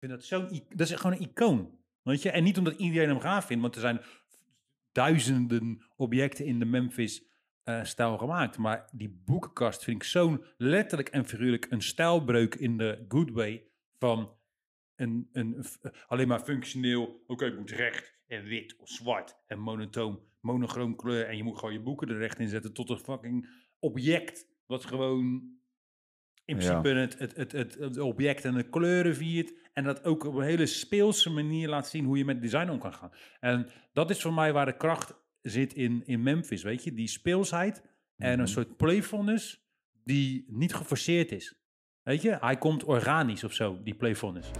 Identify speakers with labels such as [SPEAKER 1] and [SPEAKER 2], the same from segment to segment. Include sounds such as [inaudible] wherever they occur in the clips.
[SPEAKER 1] vind dat zo'n... i- Dat is gewoon een icoon. Weet je? En niet omdat iedereen hem gaaf vindt, want er zijn duizenden objecten in de Memphis-stijl gemaakt. Maar die boekenkast vind ik zo'n letterlijk en figuurlijk een stijlbreuk in de good way van een, een, f- eh, alleen maar functioneel. Oké, het moet recht en wit of zwart en monotoom, monochroom kleur. En je moet gewoon je boeken er recht in zetten tot een fucking object wat gewoon in
[SPEAKER 2] Ja.
[SPEAKER 1] principe het, het, het, het, het object en de kleuren viert. En dat ook op een hele speelse manier laat zien hoe je met design om kan gaan. En dat is voor mij waar de kracht zit in, in Memphis, weet je? Die speelsheid en
[SPEAKER 2] Mhm.
[SPEAKER 1] een soort playfulness die niet geforceerd is. Weet je? Hij komt organisch of zo, die playfulness.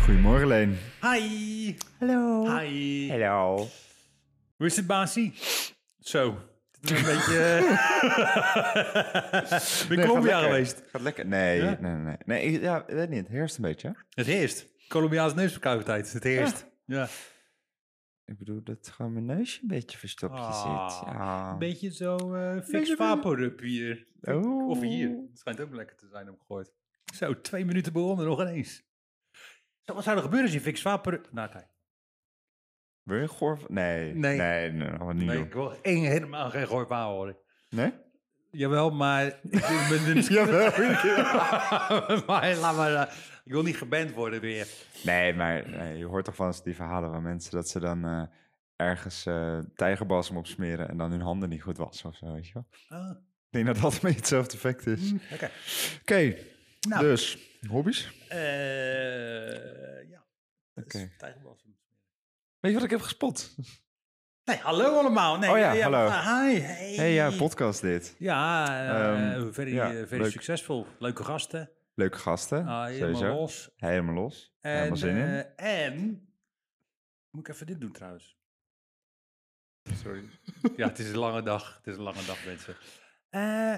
[SPEAKER 2] Goedemorgen, Leen.
[SPEAKER 1] Hi!
[SPEAKER 2] Hallo.
[SPEAKER 1] Hi!
[SPEAKER 2] Hallo.
[SPEAKER 1] Hoe is het, Basie? Zo. Dit is een [laughs] beetje... Ben Colombia geweest.
[SPEAKER 2] Gaat lekker. Nee,
[SPEAKER 1] Ja?
[SPEAKER 2] nee, nee. Nee, ik- ja, weet niet. Het heerst een beetje. hè?
[SPEAKER 1] Het heerst. Colombiaanse neusverkoudheid. Het heerst. Ah. Ja.
[SPEAKER 2] Ik bedoel dat gewoon mijn neusje een beetje verstopje
[SPEAKER 1] Ah,
[SPEAKER 2] zit. Ja.
[SPEAKER 1] Een beetje zo eh fix
[SPEAKER 2] Beetje-
[SPEAKER 1] vaporup hier.
[SPEAKER 2] Oh.
[SPEAKER 1] Of hier. Het schijnt ook lekker te zijn omgegooid. Zo, twee minuten begonnen, nog ineens. Zo, Wat zou er gebeuren als je fix vaporup... Nou, kijk.
[SPEAKER 2] Wil je een goor? Nee.
[SPEAKER 1] Nee.
[SPEAKER 2] Nee, nee, nee dat gaan we niet
[SPEAKER 1] Nee,
[SPEAKER 2] doen.
[SPEAKER 1] ik wil één, helemaal geen gooi verhaal horen.
[SPEAKER 2] Nee?
[SPEAKER 1] Jawel,
[SPEAKER 2] [laughs]
[SPEAKER 1] maar... ik ben- ben- [laughs] maar laat maar... eh, ik wil niet geband worden weer.
[SPEAKER 2] Nee, maar nee, je hoort toch van eens die verhalen van mensen dat ze dan eh, ergens eh tijgerbalsem op smeren en dan hun handen niet goed wassen of zo, weet je wel.
[SPEAKER 1] Ah,
[SPEAKER 2] Ik denk dat dat een beetje hetzelfde effect is. Oké,
[SPEAKER 1] Oké. Hm. Nou.
[SPEAKER 2] dus hobby's.
[SPEAKER 1] Eh, ja. dat is
[SPEAKER 2] Oké.
[SPEAKER 1] tijgerbalsem.
[SPEAKER 2] Weet je wat ik heb gespot?
[SPEAKER 1] Nee, hallo allemaal. Nee,
[SPEAKER 2] Oh ja, hallo.
[SPEAKER 1] ah, hi, hey.
[SPEAKER 2] hey, ja, podcast dit.
[SPEAKER 1] Ja, eh,
[SPEAKER 2] Ehm,
[SPEAKER 1] very,
[SPEAKER 2] ja,
[SPEAKER 1] eh, very
[SPEAKER 2] leuk.
[SPEAKER 1] succesvol. Leuke gasten.
[SPEAKER 2] Leuke gasten.
[SPEAKER 1] Ah, helemaal
[SPEAKER 2] sowieso.
[SPEAKER 1] los.
[SPEAKER 2] Helemaal los.
[SPEAKER 1] En,
[SPEAKER 2] helemaal zin in.
[SPEAKER 1] eh, en... Moet ik even dit doen trouwens? Sorry. ja, het is een lange dag. Het is een lange dag, mensen. Eh,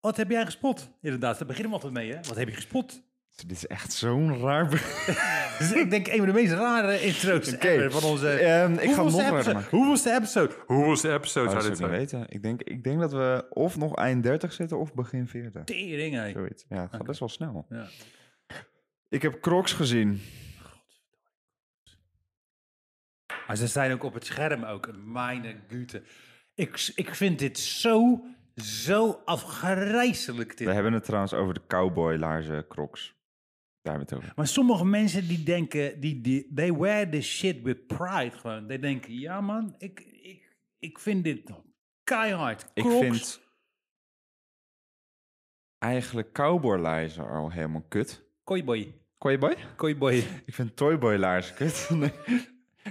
[SPEAKER 1] wat heb jij gespot? Inderdaad, daar beginnen we altijd mee, hè? Wat heb je gespot?
[SPEAKER 2] Dit is echt zo'n raar begin.
[SPEAKER 1] Dus ik denk een van de meest rare intro's
[SPEAKER 2] Oké.
[SPEAKER 1] ever van onze...
[SPEAKER 2] Ehm, ik ga hem nog
[SPEAKER 1] Hoeveelste
[SPEAKER 2] raarder
[SPEAKER 1] episode?
[SPEAKER 2] maken.
[SPEAKER 1] Hoeveelste episode? Hoeveelste episode
[SPEAKER 2] Oh, dat
[SPEAKER 1] zou
[SPEAKER 2] zou
[SPEAKER 1] dit
[SPEAKER 2] ik niet
[SPEAKER 1] zijn?
[SPEAKER 2] weten. Ik denk, ik denk dat we of nog eind 30 zitten of begin 40.
[SPEAKER 1] Tering, hé.
[SPEAKER 2] Zoiets. Ja, het gaat best wel snel.
[SPEAKER 1] Ja.
[SPEAKER 2] Ik heb Crocs gezien.
[SPEAKER 1] Maar ze zijn ook op het scherm ook. Mijn gute. Ik, ik vind dit zo, zo afgrijzelijk dit.
[SPEAKER 2] We hebben het trouwens over de cowboylaarzen Crocs. Daar hebben we het over.
[SPEAKER 1] Maar sommige mensen die denken, die, die, they wear this shit with pride gewoon. Die denken, ja man, ik, ik, ik vind dit keihard.
[SPEAKER 2] Ik
[SPEAKER 1] Crocs.
[SPEAKER 2] vind eigenlijk cowboylaarzen al helemaal kut.
[SPEAKER 1] Kooiboy.
[SPEAKER 2] Cowboy?
[SPEAKER 1] Kooiboy.
[SPEAKER 2] Ik vind toyboylaarzen kut. [laughs] Nee.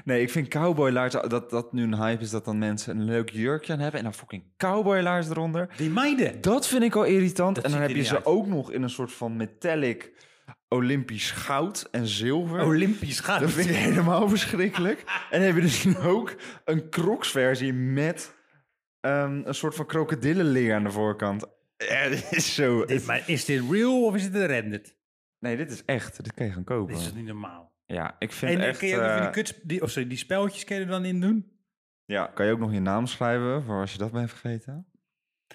[SPEAKER 2] Nee, ik vind cowboylaarzen, dat dat nu een hype is dat dan mensen een leuk jurkje aan hebben en dan fucking cowboylaars eronder.
[SPEAKER 1] Die
[SPEAKER 2] [laughs]
[SPEAKER 1] meiden.
[SPEAKER 2] Dat vind ik al irritant.
[SPEAKER 1] Dat
[SPEAKER 2] en dan
[SPEAKER 1] ziet er
[SPEAKER 2] heb je
[SPEAKER 1] niet
[SPEAKER 2] ze
[SPEAKER 1] uit.
[SPEAKER 2] ook nog in een soort van metallic Olympisch goud en zilver.
[SPEAKER 1] Olympisch gaat. [laughs]
[SPEAKER 2] Dat vind ik helemaal verschrikkelijk. En dan heb je dus nu ook een Crocs versie met ehm, een soort van krokodillenleer aan de voorkant. Ja, dit is zo...
[SPEAKER 1] Dit, maar is dit real of is dit een rendered?
[SPEAKER 2] Nee, dit is echt. Dit kan je gaan kopen.
[SPEAKER 1] Dit is toch niet normaal?
[SPEAKER 2] Ja, ik vind
[SPEAKER 1] En dan
[SPEAKER 2] echt...
[SPEAKER 1] kun je ook nog van die,
[SPEAKER 2] eh,
[SPEAKER 1] kuts, die, oh, sorry, die speltjes kun je er dan in doen.
[SPEAKER 2] ja, kan je ook nog je naam schrijven voor als je dat bent vergeten?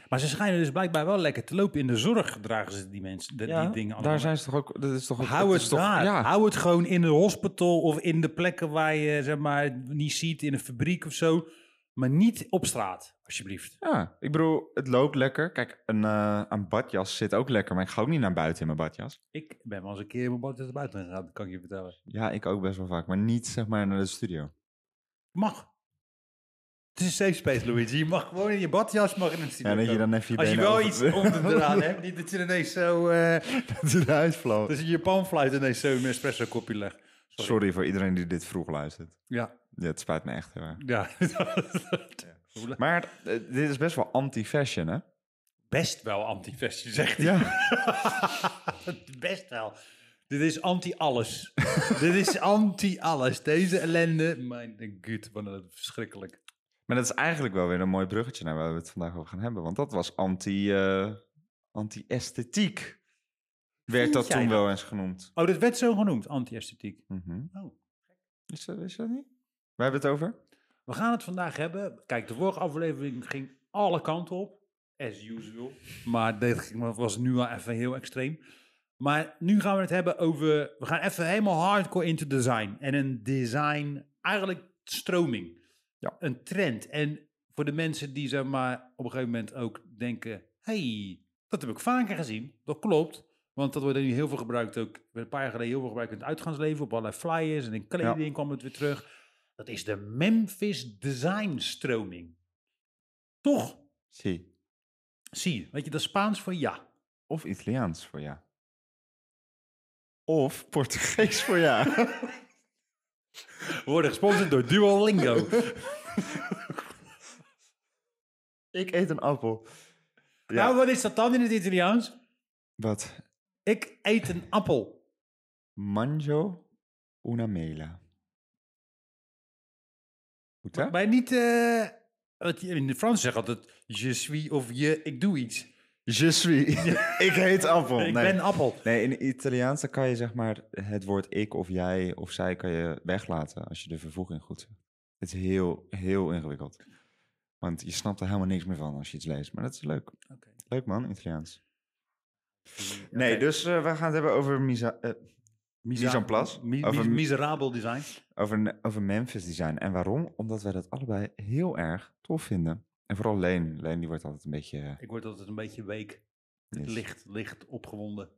[SPEAKER 1] Maar ze schijnen dus blijkbaar wel lekker te lopen. In de zorg dragen ze die mensen, de- die dingen allemaal.
[SPEAKER 2] daar zijn ze toch ook... Dat is toch ook
[SPEAKER 1] Hou
[SPEAKER 2] dat
[SPEAKER 1] het
[SPEAKER 2] is toch,
[SPEAKER 1] daar.
[SPEAKER 2] Ja,
[SPEAKER 1] Hou het gewoon in een hospital of in de plekken waar je zeg maar niet ziet, in een fabriek of zo. Maar niet op straat, alsjeblieft.
[SPEAKER 2] Ja, ik bedoel, het loopt lekker. Kijk, een, eh, een badjas zit ook lekker, maar ik ga ook niet naar buiten in mijn badjas.
[SPEAKER 1] Ik ben wel eens een keer in mijn badjas naar buiten gegaan, dat kan ik je vertellen.
[SPEAKER 2] Ja, ik ook best wel vaak, maar niet zeg maar naar de studio.
[SPEAKER 1] Mag. Het is een safe space, Luigi. Je mag gewoon in je badjas, mag in het
[SPEAKER 2] Ja, dat je dan even je
[SPEAKER 1] Als je
[SPEAKER 2] benen
[SPEAKER 1] wel
[SPEAKER 2] over-
[SPEAKER 1] iets onder
[SPEAKER 2] [laughs]
[SPEAKER 1] eraan hebt, niet dat je ineens zo... eh,
[SPEAKER 2] Dat is een huisvlam.
[SPEAKER 1] dat je je panfluit ineens zo in een espresso kopje legt.
[SPEAKER 2] Sorry. voor iedereen die dit vroeg luistert.
[SPEAKER 1] Ja,
[SPEAKER 2] Ja, het spijt me echt. heel erg. [laughs]
[SPEAKER 1] ja. [laughs]
[SPEAKER 2] Maar eh, dit is best wel anti-fashion, hè?
[SPEAKER 1] Best wel anti-fashion, zegt
[SPEAKER 2] [laughs]
[SPEAKER 1] hij.
[SPEAKER 2] Ja.
[SPEAKER 1] [laughs] Best wel. Dit is anti-alles. [laughs] Dit is anti-alles. Deze ellende. Mijn god, wat een verschrikkelijk.
[SPEAKER 2] Maar dat is eigenlijk wel weer een mooi bruggetje naar waar we het vandaag over gaan hebben. Want dat was anti, eh, anti-esthetiek. Werd
[SPEAKER 1] Vind
[SPEAKER 2] dat
[SPEAKER 1] jij
[SPEAKER 2] toen
[SPEAKER 1] dat?
[SPEAKER 2] wel eens genoemd.
[SPEAKER 1] Oh, dat werd zo genoemd, anti-esthetiek.
[SPEAKER 2] Mhm.
[SPEAKER 1] Oh.
[SPEAKER 2] Is, dat, is dat niet? Waar hebben we het over?
[SPEAKER 1] We gaan het vandaag hebben. Kijk, de vorige aflevering ging alle kanten op. As usual. Maar dit was nu wel even heel extreem. Maar nu gaan we het hebben over... We gaan even helemaal hardcore into design. En een design, eigenlijk stroming.
[SPEAKER 2] Ja.
[SPEAKER 1] Een trend. En voor de mensen die zeg maar, op een gegeven moment ook denken... hey, dat heb ik vaker gezien. Dat klopt. Want dat wordt nu heel veel gebruikt ook. werd Een paar jaar geleden heel veel gebruikt in het uitgaansleven. Op allerlei flyers en in kleding kwam het weer terug. Dat is de Memphis Design Stroming. Toch?
[SPEAKER 2] Zie.
[SPEAKER 1] Zie je. Weet je, dat is Spaans voor ja.
[SPEAKER 2] Of Italiaans voor ja. Of Portugees voor
[SPEAKER 1] [laughs]
[SPEAKER 2] ja.
[SPEAKER 1] We worden gesponsord door [laughs] Duolingo.
[SPEAKER 2] ik eet een appel. Ja.
[SPEAKER 1] Nou, wat is dat dan in het Italiaans?
[SPEAKER 2] Wat?
[SPEAKER 1] Ik eet een appel.
[SPEAKER 2] Manjo una mela. Goed hè?
[SPEAKER 1] Maar niet... eh, wat je- in het Frans zegt altijd... Je suis of je... Ik doe iets.
[SPEAKER 2] Je
[SPEAKER 1] [laughs]
[SPEAKER 2] suis. ik heet appel.
[SPEAKER 1] ik
[SPEAKER 2] nee.
[SPEAKER 1] ben appel.
[SPEAKER 2] Nee, in het Italiaans dan kan je zeg maar het woord ik of jij of zij kan je weglaten als je de vervoeging goed zegt. Het is heel, heel ingewikkeld. Want je snapt er helemaal niks meer van als je iets leest. Maar dat is leuk.
[SPEAKER 1] Oké.
[SPEAKER 2] Leuk man, Italiaans. Nee, dus eh, we gaan het hebben over, misa- eh, mise en place.
[SPEAKER 1] Mi-
[SPEAKER 2] Over
[SPEAKER 1] mis-
[SPEAKER 2] mi-
[SPEAKER 1] miserabel design.
[SPEAKER 2] over, over Memphis design. En waarom? Omdat wij dat allebei heel erg tof vinden. En vooral Leen. Leen die wordt altijd een beetje... eh,
[SPEAKER 1] Ik word altijd een beetje week,
[SPEAKER 2] yes.
[SPEAKER 1] licht, licht opgewonden.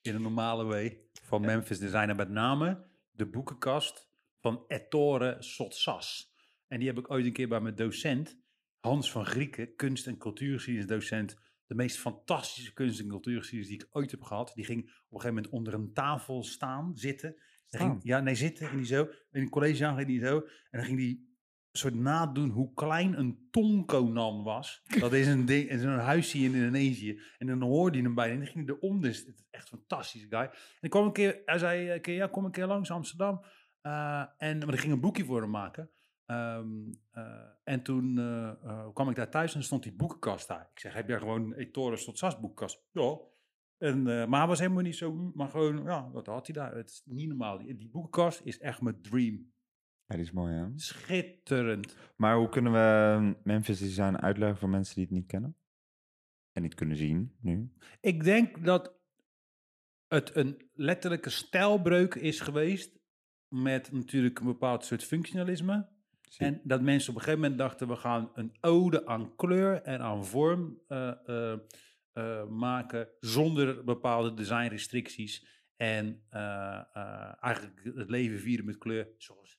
[SPEAKER 1] In een normale way van Memphis Design. En met name de boekenkast van Ettore Sotsas. En die heb ik ooit een keer bij mijn docent, Hans van Grieken, kunst- en cultuurgeschiedenisdocent, De meest fantastische kunst- en cultuurgeschiedenis die ik ooit heb gehad. Die ging op een gegeven moment onder een tafel staan, zitten. Hij Ging,
[SPEAKER 2] Staan?
[SPEAKER 1] ja, nee, zitten. Ging die zo. In het collegezaal ging die zo. En dan ging die soort nadoen hoe klein een tonkonan was. Dat is een ding, is een huisje in Indonesië. En dan hoorde je hem bijna. En dan ging hij eronder. zitten. Het is Echt een fantastische guy. En ik kwam een keer, hij zei een keer, ja, kom een keer langs Amsterdam. Eh, en, maar ik ging een boekje voor hem maken. Ehm, eh, en toen eh, eh, kwam ik daar thuis en stond die boekenkast daar. Ik zeg, heb jij gewoon Etoris tot Sas boekenkast? Ja. En, eh, maar hij was helemaal niet zo, maar gewoon, ja, dat had hij daar. Het is niet normaal. Die, die boekenkast is echt mijn dream.
[SPEAKER 2] Ja, die is mooi hè?
[SPEAKER 1] Schitterend.
[SPEAKER 2] Maar hoe kunnen we eh, Memphis design uitleggen voor mensen die het niet kennen? En niet kunnen zien nu?
[SPEAKER 1] Ik denk dat het een letterlijke stijlbreuk is geweest. Met natuurlijk een bepaald soort functionalisme.
[SPEAKER 2] Zie.
[SPEAKER 1] En dat mensen op een gegeven moment dachten: we gaan een ode aan kleur en aan vorm eh, eh, eh, maken. zonder bepaalde designrestricties. En eh, eh, eigenlijk het leven vieren met kleur. Zoals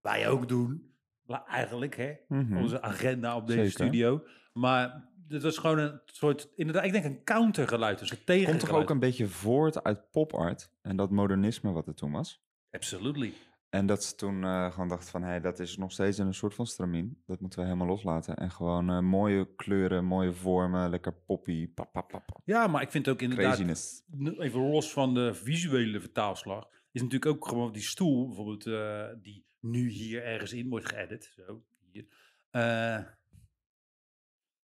[SPEAKER 1] wij ook doen. Maar eigenlijk, hè?
[SPEAKER 2] Mhm.
[SPEAKER 1] onze agenda op deze
[SPEAKER 2] Zeker.
[SPEAKER 1] studio. Maar het was gewoon een soort, inderdaad, ik denk een countergeluid, dus een
[SPEAKER 2] Komt
[SPEAKER 1] tegengeluid.
[SPEAKER 2] toch ook een beetje voort uit popart en dat modernisme wat er toen was?
[SPEAKER 1] Absolutely.
[SPEAKER 2] En dat ze toen eh, gewoon dachten van, hé, dat is nog steeds een soort van stramien. Dat moeten we helemaal loslaten. En gewoon eh, mooie kleuren, mooie vormen, lekker poppy, pap, pap, pap, pap.
[SPEAKER 1] Ja, maar ik vind ook inderdaad,
[SPEAKER 2] Craziness.
[SPEAKER 1] n- even los van de visuele vertaalslag, is natuurlijk ook gewoon die stoel, bijvoorbeeld, eh, die nu hier ergens in wordt geëdit. Zo, hier. Eh,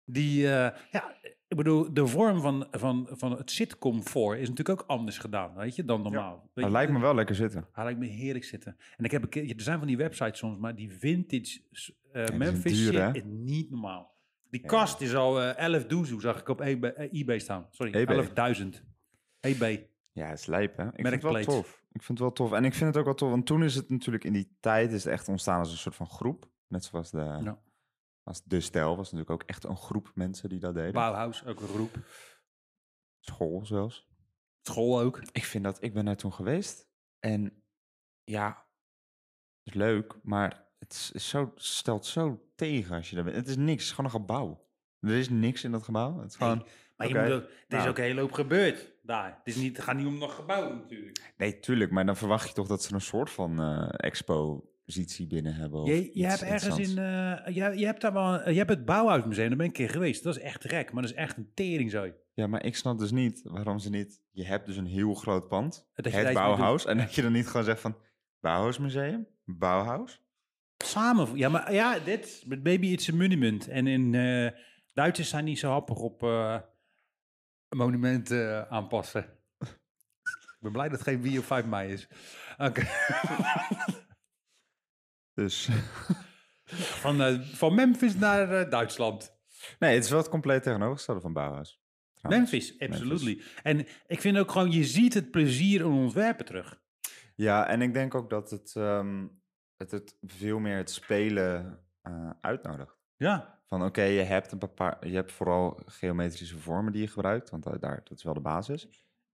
[SPEAKER 1] die, eh, ja, ik bedoel, de vorm van, van, van het sitcomfort is natuurlijk ook anders gedaan, weet je, dan normaal. Weet
[SPEAKER 2] Dat
[SPEAKER 1] je, eh,
[SPEAKER 2] lijkt me wel lekker zitten.
[SPEAKER 1] Hij lijkt me heerlijk zitten. En ik heb een keer, er zijn van die websites soms, maar die vintage eh,
[SPEAKER 2] zijn
[SPEAKER 1] Memphis
[SPEAKER 2] duur, hè?
[SPEAKER 1] shit is niet normaal. Die kast is al eh, 11 doezoe, zag ik op eBay, eh, eBay staan. Sorry,
[SPEAKER 2] eBay.
[SPEAKER 1] 11.000. eBay.
[SPEAKER 2] Ja, het is lijp, hè? Ik vind het wel
[SPEAKER 1] Merkplaat.
[SPEAKER 2] tof. Ik vind het wel tof. En ik vind het ook wel tof, want toen is het natuurlijk in die tijd is het echt ontstaan als een soort van groep. Net zoals de,
[SPEAKER 1] Ja.
[SPEAKER 2] als de stijl was natuurlijk ook echt een groep mensen die dat deden.
[SPEAKER 1] Bauhaus, ook een groep.
[SPEAKER 2] School zelfs.
[SPEAKER 1] School ook.
[SPEAKER 2] Ik vind dat, ik ben daar toen geweest. En ja, het is leuk, maar het is, is zo, stelt zo tegen als je daar bent. Het is niks, het is gewoon een gebouw. Er is niks in dat gebouw. Het is gewoon, nee.
[SPEAKER 1] Maar
[SPEAKER 2] Oké.
[SPEAKER 1] je moet ook, er is
[SPEAKER 2] Nou.
[SPEAKER 1] ook een hele hoop gebeurd daar. Het, is niet, het gaat niet om nog gebouwen natuurlijk.
[SPEAKER 2] tuurlijk, maar dan verwacht je toch dat ze een soort van eh expositie binnen hebben. Of
[SPEAKER 1] Je,
[SPEAKER 2] iets
[SPEAKER 1] je hebt ergens
[SPEAKER 2] interessants.
[SPEAKER 1] in... eh, je, je, hebt daar wel, een- je hebt het Bauhausmuseum, daar ben ik een keer geweest. Dat is echt gek, maar dat is echt een teringzooi.
[SPEAKER 2] Ja, maar ik snap dus niet waarom ze niet... Je hebt dus een heel groot pand,
[SPEAKER 1] Dat je daar iets
[SPEAKER 2] het
[SPEAKER 1] mee
[SPEAKER 2] Bauhaus. En dat je dan niet gewoon zegt van... Bauhausmuseum? Bauhaus?
[SPEAKER 1] Samen. Ja, maar ja, dit. but Maybe it's a monument. En in eh, Duitsers zijn niet zo happig op eh, monumenten eh, aanpassen. Ik ben blij dat het geen 4 of 5 mei is. Oké.
[SPEAKER 2] Dus
[SPEAKER 1] Van, eh, van Memphis naar eh, Duitsland.
[SPEAKER 2] [laughs] Nee, het is wel het compleet tegenovergestelde van Bauhaus. trouwens.
[SPEAKER 1] Memphis, absolutely. En ik vind ook gewoon, je ziet het plezier in ontwerpen terug.
[SPEAKER 2] Ja, en ik denk ook dat het, ehm, het, het veel meer het spelen eh, uitnodigt.
[SPEAKER 1] Ja,
[SPEAKER 2] Van oké, je hebt een bepaal, je hebt vooral geometrische vormen die je gebruikt, want da- daar, dat is wel de basis.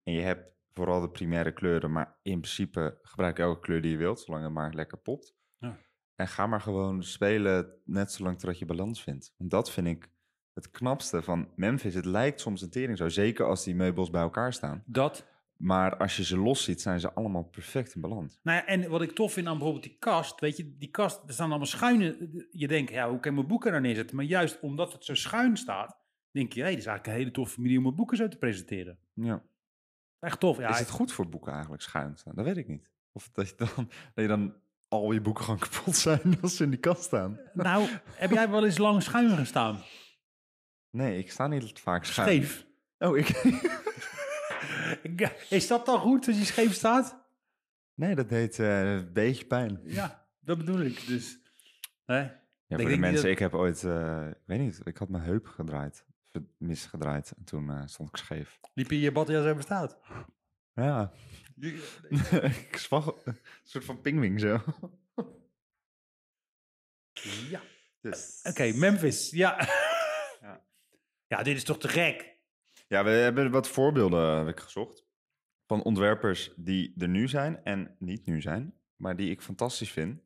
[SPEAKER 2] En je hebt vooral de primaire kleuren, maar in principe gebruik elke kleur die je wilt, zolang het maar lekker popt.
[SPEAKER 1] Ja.
[SPEAKER 2] En ga maar gewoon spelen, net zolang totdat je balans vindt. Want dat vind ik het knapste van Memphis. Het lijkt soms een tering zo, zeker als die meubels bij elkaar staan.
[SPEAKER 1] dat.
[SPEAKER 2] Maar als je ze los ziet, zijn ze allemaal perfect in balans.
[SPEAKER 1] Nou ja, en wat ik tof vind aan bijvoorbeeld die kast, weet je, die kast, er staan allemaal schuine. Je denkt, ja, hoe kan ik mijn boeken daar neerzetten? Maar juist omdat het zo schuin staat, denk je, hé, dit is eigenlijk een hele toffe manier om mijn boeken zo te presenteren.
[SPEAKER 2] Ja.
[SPEAKER 1] Echt tof, ja.
[SPEAKER 2] is het goed voor boeken eigenlijk schuin staan? Dat weet ik niet. Of dat je dan, [laughs] dat je dan al je boeken gewoon kapot zijn [laughs] als ze in die kast staan.
[SPEAKER 1] Nou, heb jij wel eens lang schuin gestaan?
[SPEAKER 2] Nee, ik sta niet vaak schuin.
[SPEAKER 1] Scheef.
[SPEAKER 2] Oh, ik... [laughs]
[SPEAKER 1] Is dat dan goed als je scheef staat?
[SPEAKER 2] Nee, dat deed eh, een beetje pijn.
[SPEAKER 1] Ja, dat bedoel ik. Dus, hè?
[SPEAKER 2] Ja,
[SPEAKER 1] denk
[SPEAKER 2] voor
[SPEAKER 1] niet
[SPEAKER 2] de mensen,
[SPEAKER 1] dat-
[SPEAKER 2] ik heb ooit, eh, ik weet niet, ik had mijn heup gedraaid, ver- misgedraaid en toen eh, stond ik scheef.
[SPEAKER 1] Liep je in je badjas over staat?
[SPEAKER 2] Ja, [laughs] ik zwag een soort van pingwing zo.
[SPEAKER 1] Ja.
[SPEAKER 2] Dus-
[SPEAKER 1] Oké, Memphis. Ja. ja.
[SPEAKER 2] Ja.
[SPEAKER 1] dit is toch te gek?
[SPEAKER 2] Ja, we hebben wat voorbeelden eh, heb ik gezocht van ontwerpers die er nu zijn en niet nu zijn, maar die ik fantastisch vind.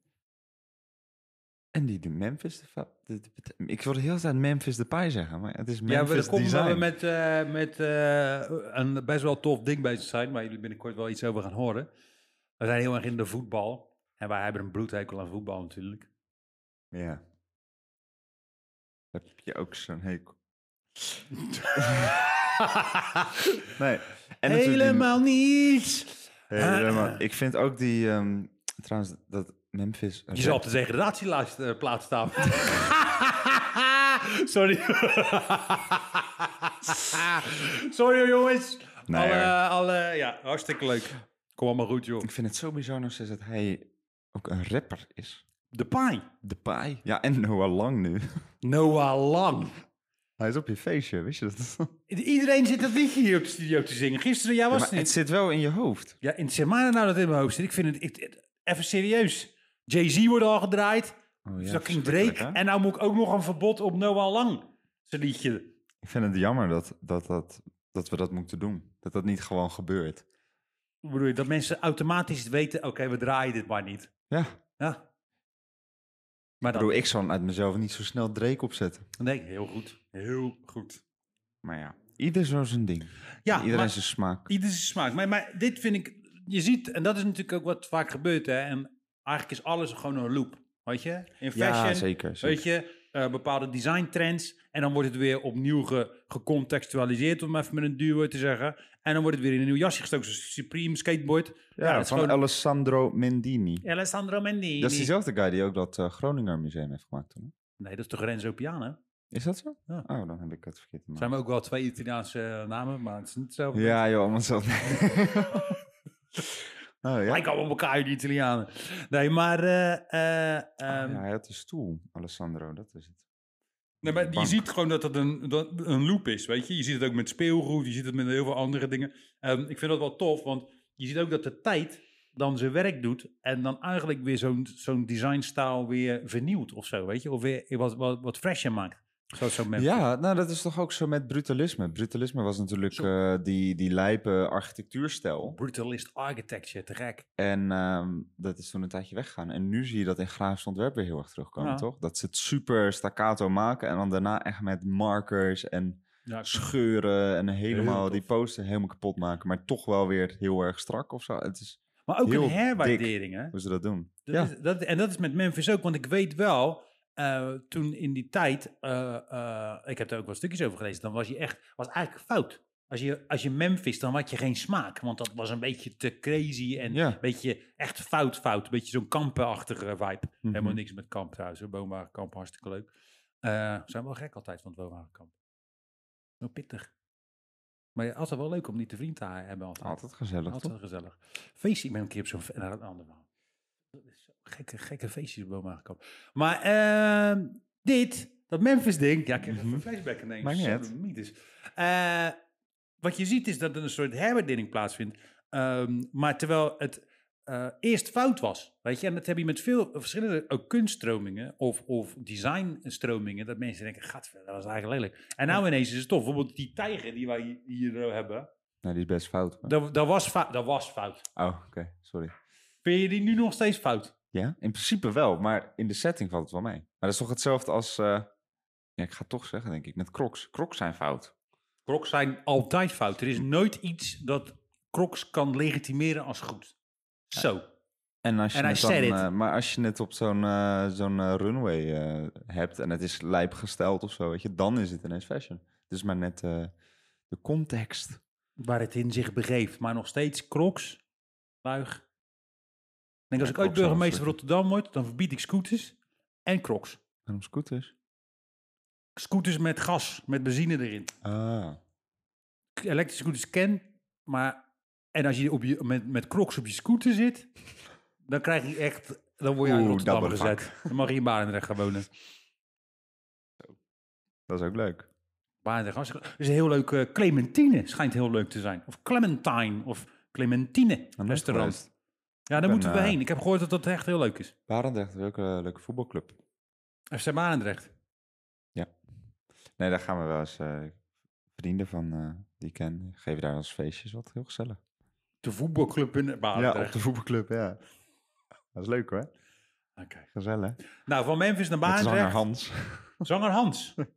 [SPEAKER 2] En die de Memphis... De, fa- de- de- de- ik wilde heel de tijd Memphis de Pie zeggen, maar het is
[SPEAKER 1] Ja, we
[SPEAKER 2] Memphis
[SPEAKER 1] komen
[SPEAKER 2] Design.
[SPEAKER 1] we met, eh, met eh, een best wel tof ding bezig zijn, waar jullie binnenkort wel iets over gaan horen. We zijn heel erg in de voetbal. En wij hebben een bloedhekel aan voetbal
[SPEAKER 2] [laughs]
[SPEAKER 1] natuurlijk.
[SPEAKER 2] Ja. Daar heb je ook zo'n hekel. Nee. En natuurlijk die-
[SPEAKER 1] Helemaal niet.
[SPEAKER 2] helemaal. Ik vind ook die... ehm, trouwens, dat Memphis...
[SPEAKER 1] Je zal op de degradatieplaats eh, plaats
[SPEAKER 2] [laughs]
[SPEAKER 1] staan. Sorry. [laughs] Sorry hoor, jongens.
[SPEAKER 2] Nee,
[SPEAKER 1] alle,
[SPEAKER 2] hoor.
[SPEAKER 1] alle, ja, hartstikke leuk. Kom allemaal goed, joh.
[SPEAKER 2] Ik vind het zo bizar nog steeds dat hij ook een rapper is.
[SPEAKER 1] De Pai.
[SPEAKER 2] De Pai. Ja, en Noah Lang nu.
[SPEAKER 1] Noah Lang.
[SPEAKER 2] Hij is op je feestje, wist je dat? Ja,
[SPEAKER 1] Iedereen zit dat liedje hier op de studio te zingen. Gisteren, jij was
[SPEAKER 2] maar
[SPEAKER 1] het
[SPEAKER 2] het
[SPEAKER 1] niet.
[SPEAKER 2] zit wel in je hoofd.
[SPEAKER 1] Ja, in Semana nou dat in mijn hoofd zit. Ik vind het, ik- het- even serieus. Jay-Z wordt al gedraaid.
[SPEAKER 2] Oh,
[SPEAKER 1] Fucking Drake. En nou moet ik ook nog een verbod op Noah Lang. Zijn liedje.
[SPEAKER 2] Ik vind het jammer dat, dat, dat, dat we dat moeten doen. Dat dat niet gewoon gebeurt.
[SPEAKER 1] Hoe bedoel je? Dat mensen automatisch weten, oké, we draaien dit maar niet.
[SPEAKER 2] Ja, ik
[SPEAKER 1] Ja. Maar dat...
[SPEAKER 2] bedoel, ik zal uit mezelf niet zo snel Drake opzetten.
[SPEAKER 1] Nee, heel goed. Heel goed.
[SPEAKER 2] Maar ja, ieder zo zijn ding.
[SPEAKER 1] Ja,
[SPEAKER 2] Iedereen
[SPEAKER 1] maar-
[SPEAKER 2] zijn smaak.
[SPEAKER 1] Ieder zijn smaak. Maar, maar dit vind ik... Je ziet, en dat is natuurlijk ook wat vaak gebeurt, hè. En eigenlijk is alles gewoon een loop. Weet je? In fashion,
[SPEAKER 2] Ja, zeker. zeker.
[SPEAKER 1] weet je, eh, bepaalde design trends. En dan wordt het weer opnieuw ge- gecontextualiseerd, om even met een duur woord te zeggen. En dan wordt het weer in een nieuw jasje gestoken, zoals Supreme Skateboard.
[SPEAKER 2] ja,
[SPEAKER 1] dat is
[SPEAKER 2] van
[SPEAKER 1] gewoon...
[SPEAKER 2] Alessandro Mendini.
[SPEAKER 1] Alessandro Mendini.
[SPEAKER 2] Dat is diezelfde guy die ook dat eh, Groninger Museum heeft gemaakt toen. hè?
[SPEAKER 1] Nee, dat is toch Renzo Piano?
[SPEAKER 2] Is dat zo?
[SPEAKER 1] Ja.
[SPEAKER 2] Oh, dan heb ik het verkeerd
[SPEAKER 1] Het zijn
[SPEAKER 2] gemaakt.
[SPEAKER 1] ook wel twee Italiaanse eh, namen, maar het is niet hetzelfde.
[SPEAKER 2] Ja, joh, allemaal
[SPEAKER 1] [laughs]
[SPEAKER 2] zo. oh, ja.
[SPEAKER 1] Lijken allemaal op elkaar, die Italianen. Nee, maar, eh, eh, ehm,
[SPEAKER 2] Ah, ja, hij had die stoel, Alessandro, dat is het.
[SPEAKER 1] nee, maar je
[SPEAKER 2] Bank.
[SPEAKER 1] ziet gewoon dat het een, dat een loop is, weet je. Je ziet het ook met speelgoed, je ziet het met heel veel andere dingen. Ehm, ik vind dat wel tof, want je ziet ook dat de tijd dan zijn werk doet... en dan eigenlijk weer zo'n zo'n designstijl weer vernieuwt of zo, weet je. Of weer wat, wat, wat fresher maakt. Zoals zo'n Memphis.
[SPEAKER 2] Ja, nou dat is toch ook zo met brutalisme. Brutalisme was natuurlijk
[SPEAKER 1] Zo.
[SPEAKER 2] eh, die, die lijpe architectuurstijl.
[SPEAKER 1] Brutalist architecture, te gek.
[SPEAKER 2] En ehm, dat is toen een tijdje weggegaan. En nu zie je dat in grafisch ontwerp weer heel erg terugkomen,
[SPEAKER 1] Ja.
[SPEAKER 2] toch? Dat ze het super staccato maken en dan daarna echt met markers en
[SPEAKER 1] Ja,
[SPEAKER 2] scheuren en helemaal
[SPEAKER 1] tof.
[SPEAKER 2] die poster helemaal kapot maken. Maar toch wel weer heel erg strak of zo. Het is
[SPEAKER 1] maar ook
[SPEAKER 2] heel
[SPEAKER 1] een
[SPEAKER 2] dik.
[SPEAKER 1] herwaardering, hè.
[SPEAKER 2] hoe ze dat doen.
[SPEAKER 1] Dat
[SPEAKER 2] Ja.
[SPEAKER 1] is, dat, en dat is met Memphis ook, want ik weet wel, eh, toen in die tijd, eh, eh, ik heb daar ook wel stukjes over gelezen, dan was je echt, was eigenlijk fout. Als je, als je Memphis, dan had je geen smaak, want dat was een beetje te crazy en
[SPEAKER 2] Ja.
[SPEAKER 1] een beetje echt fout, fout. Een beetje zo'n kampenachtige vibe.
[SPEAKER 2] Mhm.
[SPEAKER 1] Helemaal niks met kamp trouwens, hoor. Boomwagenkamp, hartstikke leuk. Eh zijn wel gek altijd van het Boomwagenkamp. Wel pittig. Maar ja, altijd wel leuk om die te vriend te hebben altijd.
[SPEAKER 2] Altijd gezellig,
[SPEAKER 1] Altijd
[SPEAKER 2] toch?
[SPEAKER 1] wel gezellig. Feestje, ik ben een keer op zo'n fe- nou, een ander verhaal. Dat is zo Gekke, gekke feestjes bij elkaar. Maar ehm, dit Dat Memphis-ding. Ja, ik heb even flashback ineens.
[SPEAKER 2] Mhm. Maakt niet
[SPEAKER 1] Zo,
[SPEAKER 2] uit.
[SPEAKER 1] mythisch. Eh, wat je ziet is dat er een soort herbedinning plaatsvindt. Ehm, maar terwijl het eh, eerst fout was. Weet je, en dat heb je met veel verschillende ook kunststromingen of, of designstromingen. Dat mensen denken, gadver, dat was eigenlijk lelijk. En nou ineens is het tof. Bijvoorbeeld die tijger die wij hier eh, hebben.
[SPEAKER 2] Nou, die is best fout. maar-
[SPEAKER 1] Dat, dat, was, fout, dat was fout.
[SPEAKER 2] Oh, oké. Sorry.
[SPEAKER 1] Vind je die nu nog steeds fout?
[SPEAKER 2] Ja, in principe wel, maar in de setting valt het wel mee. Maar dat is toch hetzelfde als... eh, ja, ik ga het toch zeggen, denk ik, met crocs. Crocs zijn fout.
[SPEAKER 1] Crocs zijn altijd fout. Er is nooit iets dat Crocs kan legitimeren als goed. Zo.
[SPEAKER 2] En als je
[SPEAKER 1] En I
[SPEAKER 2] het dan,
[SPEAKER 1] said it.
[SPEAKER 2] eh, maar als je het op zo'n eh, zo'n eh, runway eh, hebt en het is lijp gesteld of zo, weet je, dan is het ineens fashion. Dus maar net eh, de context.
[SPEAKER 1] Waar het in zich begeeft. Maar nog steeds Crocs. Luig. Ik denk als ik
[SPEAKER 2] Ja,
[SPEAKER 1] ooit
[SPEAKER 2] Crocs zijn
[SPEAKER 1] burgemeester van
[SPEAKER 2] verschrikkelijk.
[SPEAKER 1] Rotterdam word, dan verbied ik scooters en Crocs.
[SPEAKER 2] Waarom scooters?
[SPEAKER 1] Scooters met gas, met benzine erin.
[SPEAKER 2] Ah,
[SPEAKER 1] K- Elektrische scooters ken, maar... En als je, op je met, met Crocs op je scooter zit, dan krijg je echt... Dan word je uit
[SPEAKER 2] Oeh,
[SPEAKER 1] Rotterdam
[SPEAKER 2] double fuck.
[SPEAKER 1] gezet. Dan mag je in Barendrecht gaan wonen.
[SPEAKER 2] dat is ook leuk.
[SPEAKER 1] Waardig. Als- Er is een heel leuk eh, Clementine, schijnt heel leuk te zijn. Of Clementine, of Clementine
[SPEAKER 2] Een
[SPEAKER 1] restaurant. Ja, daar
[SPEAKER 2] ben,
[SPEAKER 1] moeten we
[SPEAKER 2] eh,
[SPEAKER 1] heen. Ik heb gehoord dat dat echt heel leuk is.
[SPEAKER 2] Barendrecht, leuke, eh, leuke voetbalclub.
[SPEAKER 1] FC Barendrecht.
[SPEAKER 2] Nee, daar gaan we wel eens eh, vrienden van eh, die ik ken, die geven daar als feestjes wat heel gezellig.
[SPEAKER 1] De voetbalclub in
[SPEAKER 2] ja, op
[SPEAKER 1] Barendrecht.
[SPEAKER 2] de voetbalclub, ja. Dat is leuk hoor,
[SPEAKER 1] Oké.
[SPEAKER 2] gezellig.
[SPEAKER 1] Nou, van Memphis naar
[SPEAKER 2] Met
[SPEAKER 1] Barendrecht.
[SPEAKER 2] zanger Hans.
[SPEAKER 1] Zanger Hans. [laughs]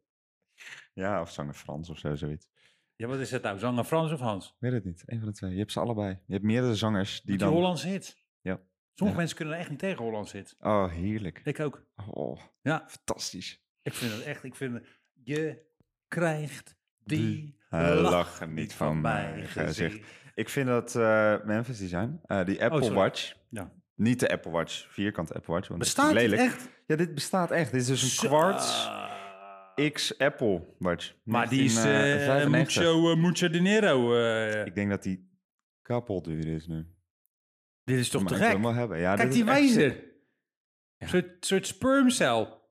[SPEAKER 2] Ja, of zanger Frans of zo, zoiets.
[SPEAKER 1] Ja, wat is het nou? Zanger Frans of Hans?
[SPEAKER 2] Ik weet het niet. Een van de twee. Je hebt ze allebei. Je hebt meerdere zangers die
[SPEAKER 1] Die,
[SPEAKER 2] dan...
[SPEAKER 1] Hollandse hits.
[SPEAKER 2] Ja.
[SPEAKER 1] Sommige
[SPEAKER 2] Ja.
[SPEAKER 1] mensen kunnen er echt niet tegen Hollandse hits.
[SPEAKER 2] Oh, heerlijk.
[SPEAKER 1] Ik ook.
[SPEAKER 2] Oh,
[SPEAKER 1] Ja.
[SPEAKER 2] fantastisch.
[SPEAKER 1] Ik vind het echt... Ik vind het- je krijgt die
[SPEAKER 2] Hij
[SPEAKER 1] lach
[SPEAKER 2] lacht eh, niet van mijn gezicht. Ik vind dat eh, Memphis die zijn. eh, die Apple
[SPEAKER 1] Oh, sorry.
[SPEAKER 2] Watch.
[SPEAKER 1] Ja.
[SPEAKER 2] Niet de Apple Watch, vierkante Apple Watch. Want dat is
[SPEAKER 1] Bestaat het
[SPEAKER 2] lelijk.
[SPEAKER 1] echt?
[SPEAKER 2] Ja, dit bestaat echt. Dit is dus een kwarts
[SPEAKER 1] Ah.
[SPEAKER 2] X Apple Watch.
[SPEAKER 1] Maar die is eh
[SPEAKER 2] 1995.
[SPEAKER 1] mucho, eh, mucho dinero. eh.
[SPEAKER 2] Ik denk dat die kapot duur is nu.
[SPEAKER 1] dit is toch
[SPEAKER 2] Maar
[SPEAKER 1] te
[SPEAKER 2] ik wil
[SPEAKER 1] gek?
[SPEAKER 2] hem wel hebben. Ja,
[SPEAKER 1] Kijk
[SPEAKER 2] dit is
[SPEAKER 1] die
[SPEAKER 2] echt
[SPEAKER 1] wijzer.
[SPEAKER 2] sick.
[SPEAKER 1] Een soort, soort spermcel.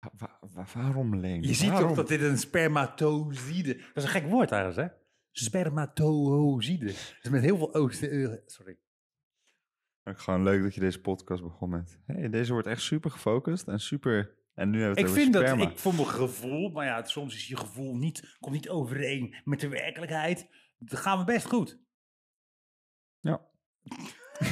[SPEAKER 2] Wa- wa- wa- waarom Leen?
[SPEAKER 1] Je ziet toch
[SPEAKER 2] Waarom?
[SPEAKER 1] dat dit een spermatozide... Dat is een gek woord trouwens, hè? Spermatozide. Dus met heel veel o's. eh, Sorry.
[SPEAKER 2] Ook gewoon leuk dat je deze podcast begon met. Hey, deze wordt echt super gefocust en super. En nu hebben we
[SPEAKER 1] Ik
[SPEAKER 2] het over
[SPEAKER 1] vind dat,
[SPEAKER 2] sperma.
[SPEAKER 1] ik voor mijn gevoel, maar ja, soms is je gevoel niet, komt niet overeen met de werkelijkheid. Dan gaan we best goed.
[SPEAKER 2] Ja.
[SPEAKER 1] [laughs]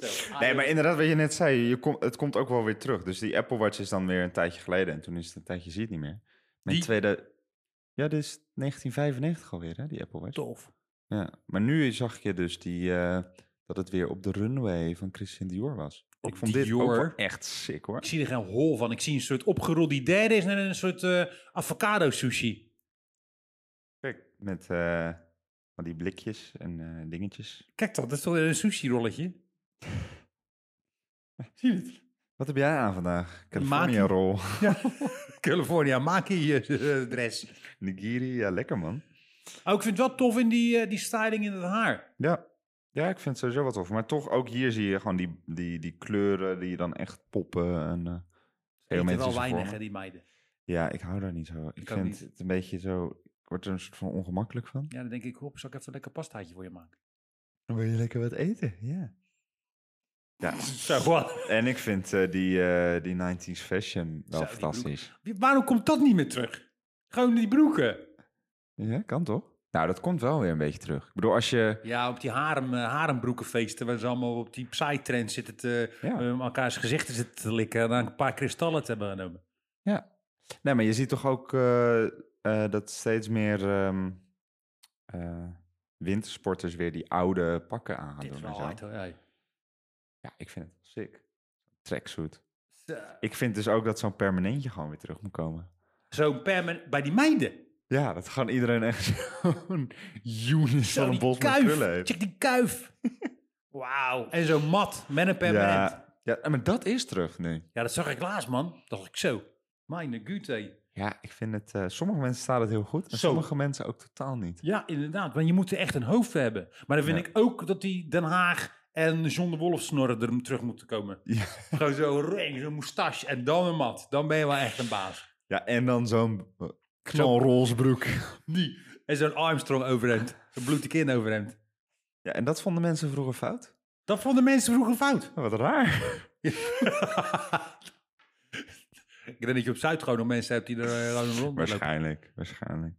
[SPEAKER 1] Zo,
[SPEAKER 2] Nee, maar inderdaad, wat je net zei, je komt het komt ook wel weer terug. Dus die Apple Watch is dan weer een tijdje geleden en toen is het een tijdje, zie je het niet meer. Mijn
[SPEAKER 1] Die-
[SPEAKER 2] tweede. Ja, dit is 1995 alweer, hè, die Apple Watch.
[SPEAKER 1] Tof.
[SPEAKER 2] Ja. Maar nu zag je dus die, eh, dat het weer op de runway van Christian Dior was.
[SPEAKER 1] Op
[SPEAKER 2] ik vond dit ook
[SPEAKER 1] Dior.
[SPEAKER 2] wel echt sick hoor.
[SPEAKER 1] Ik zie er geen hol van. Ik zie een soort opgerold die derde is en een soort eh, avocado sushi.
[SPEAKER 2] Kijk, met eh, van die blikjes en eh, dingetjes.
[SPEAKER 1] Kijk toch, dat is toch weer een sushi rolletje? [laughs] Zie je het?
[SPEAKER 2] Wat heb jij aan vandaag? California
[SPEAKER 1] Maki.
[SPEAKER 2] roll. [laughs]
[SPEAKER 1] [laughs] California, maak je eh, dress.
[SPEAKER 2] Nigiri, ja, lekker man.
[SPEAKER 1] Oh, ik vind het wel tof in die, eh, die styling in het haar.
[SPEAKER 2] Ja. ja, ik vind het sowieso wat tof. Maar toch, ook hier zie je gewoon die, die, die kleuren die dan echt poppen. En, eh
[SPEAKER 1] Ik weet wel
[SPEAKER 2] geometrische
[SPEAKER 1] weinig, hè,
[SPEAKER 2] vormen.
[SPEAKER 1] die meiden.
[SPEAKER 2] Ja, ik hou daar niet zo. Ik,
[SPEAKER 1] Ik ook
[SPEAKER 2] vind
[SPEAKER 1] niet.
[SPEAKER 2] het een beetje zo... Ik word er een soort van ongemakkelijk van.
[SPEAKER 1] Ja, dan denk ik, hop, zal ik even een lekker pastaatje voor je maken?
[SPEAKER 2] Dan wil je lekker wat eten, ja. Ja,
[SPEAKER 1] [laughs] Zo, wat?
[SPEAKER 2] en ik vind eh, die, eh, die 90s fashion
[SPEAKER 1] Zo,
[SPEAKER 2] wel
[SPEAKER 1] die
[SPEAKER 2] fantastisch.
[SPEAKER 1] Waarom komt dat niet meer terug? Gewoon die broeken.
[SPEAKER 2] Ja, kan toch? Nou, dat komt wel weer een beetje terug. Ik bedoel, als je...
[SPEAKER 1] Ja, op die harem, eh, harembroekenfeesten, waar ze allemaal op die psytrend zitten te,
[SPEAKER 2] Ja.
[SPEAKER 1] eh, elkaars gezichten zitten te likken en dan een paar kristallen te hebben genomen.
[SPEAKER 2] Nee, maar je ziet toch ook eh, eh, dat steeds meer ehm, eh, wintersporters weer die oude pakken aan gaan
[SPEAKER 1] Dit
[SPEAKER 2] doen.
[SPEAKER 1] is
[SPEAKER 2] en
[SPEAKER 1] wel
[SPEAKER 2] zo.
[SPEAKER 1] hard hoor. hey.
[SPEAKER 2] Ja, ik vind het wel sick. Tracksuit.
[SPEAKER 1] Zo.
[SPEAKER 2] Ik vind dus ook dat zo'n permanentje gewoon weer terug moet komen.
[SPEAKER 1] Zo permanent bij die meiden.
[SPEAKER 2] Ja, dat gewoon iedereen echt zo'n unit
[SPEAKER 1] Zo
[SPEAKER 2] van een
[SPEAKER 1] die
[SPEAKER 2] bos met
[SPEAKER 1] kuif.
[SPEAKER 2] krullen heeft.
[SPEAKER 1] Check die
[SPEAKER 2] [laughs]
[SPEAKER 1] kuif. Wauw. En zo mat met een permanent. Ja.
[SPEAKER 2] Ja, ja, maar dat is terug nu.
[SPEAKER 1] dat zag ik laatst man. Dat dacht ik zo. Mijn gute.
[SPEAKER 2] Ja, ik vind het... eh, sommige mensen staan het heel goed en
[SPEAKER 1] Zo.
[SPEAKER 2] sommige mensen ook totaal niet.
[SPEAKER 1] Ja, inderdaad. Want je moet er echt een hoofd voor hebben. Maar dan vind
[SPEAKER 2] Ja.
[SPEAKER 1] ik ook dat die Den Haag en John de Wolf snorren er terug moeten komen.
[SPEAKER 2] [laughs] Ja.
[SPEAKER 1] Gewoon zo ring, zo'n moustache en dan een mat. Dan ben je wel echt een baas.
[SPEAKER 2] Ja, en dan zo'n eh, knalroze
[SPEAKER 1] [laughs]
[SPEAKER 2] broek.
[SPEAKER 1] Die. En zo'n Armstrong overhemd. Zo'n bloedige kin overhemd.
[SPEAKER 2] Ja, en dat vonden mensen vroeger fout?
[SPEAKER 1] Dat vonden mensen vroeger fout.
[SPEAKER 2] Ja, Oh, Wat raar.
[SPEAKER 1] Ik denk dat je op Zuid gewoon nog mensen hebt die er eh, gewoon rondlopen.
[SPEAKER 2] Waarschijnlijk, waarschijnlijk.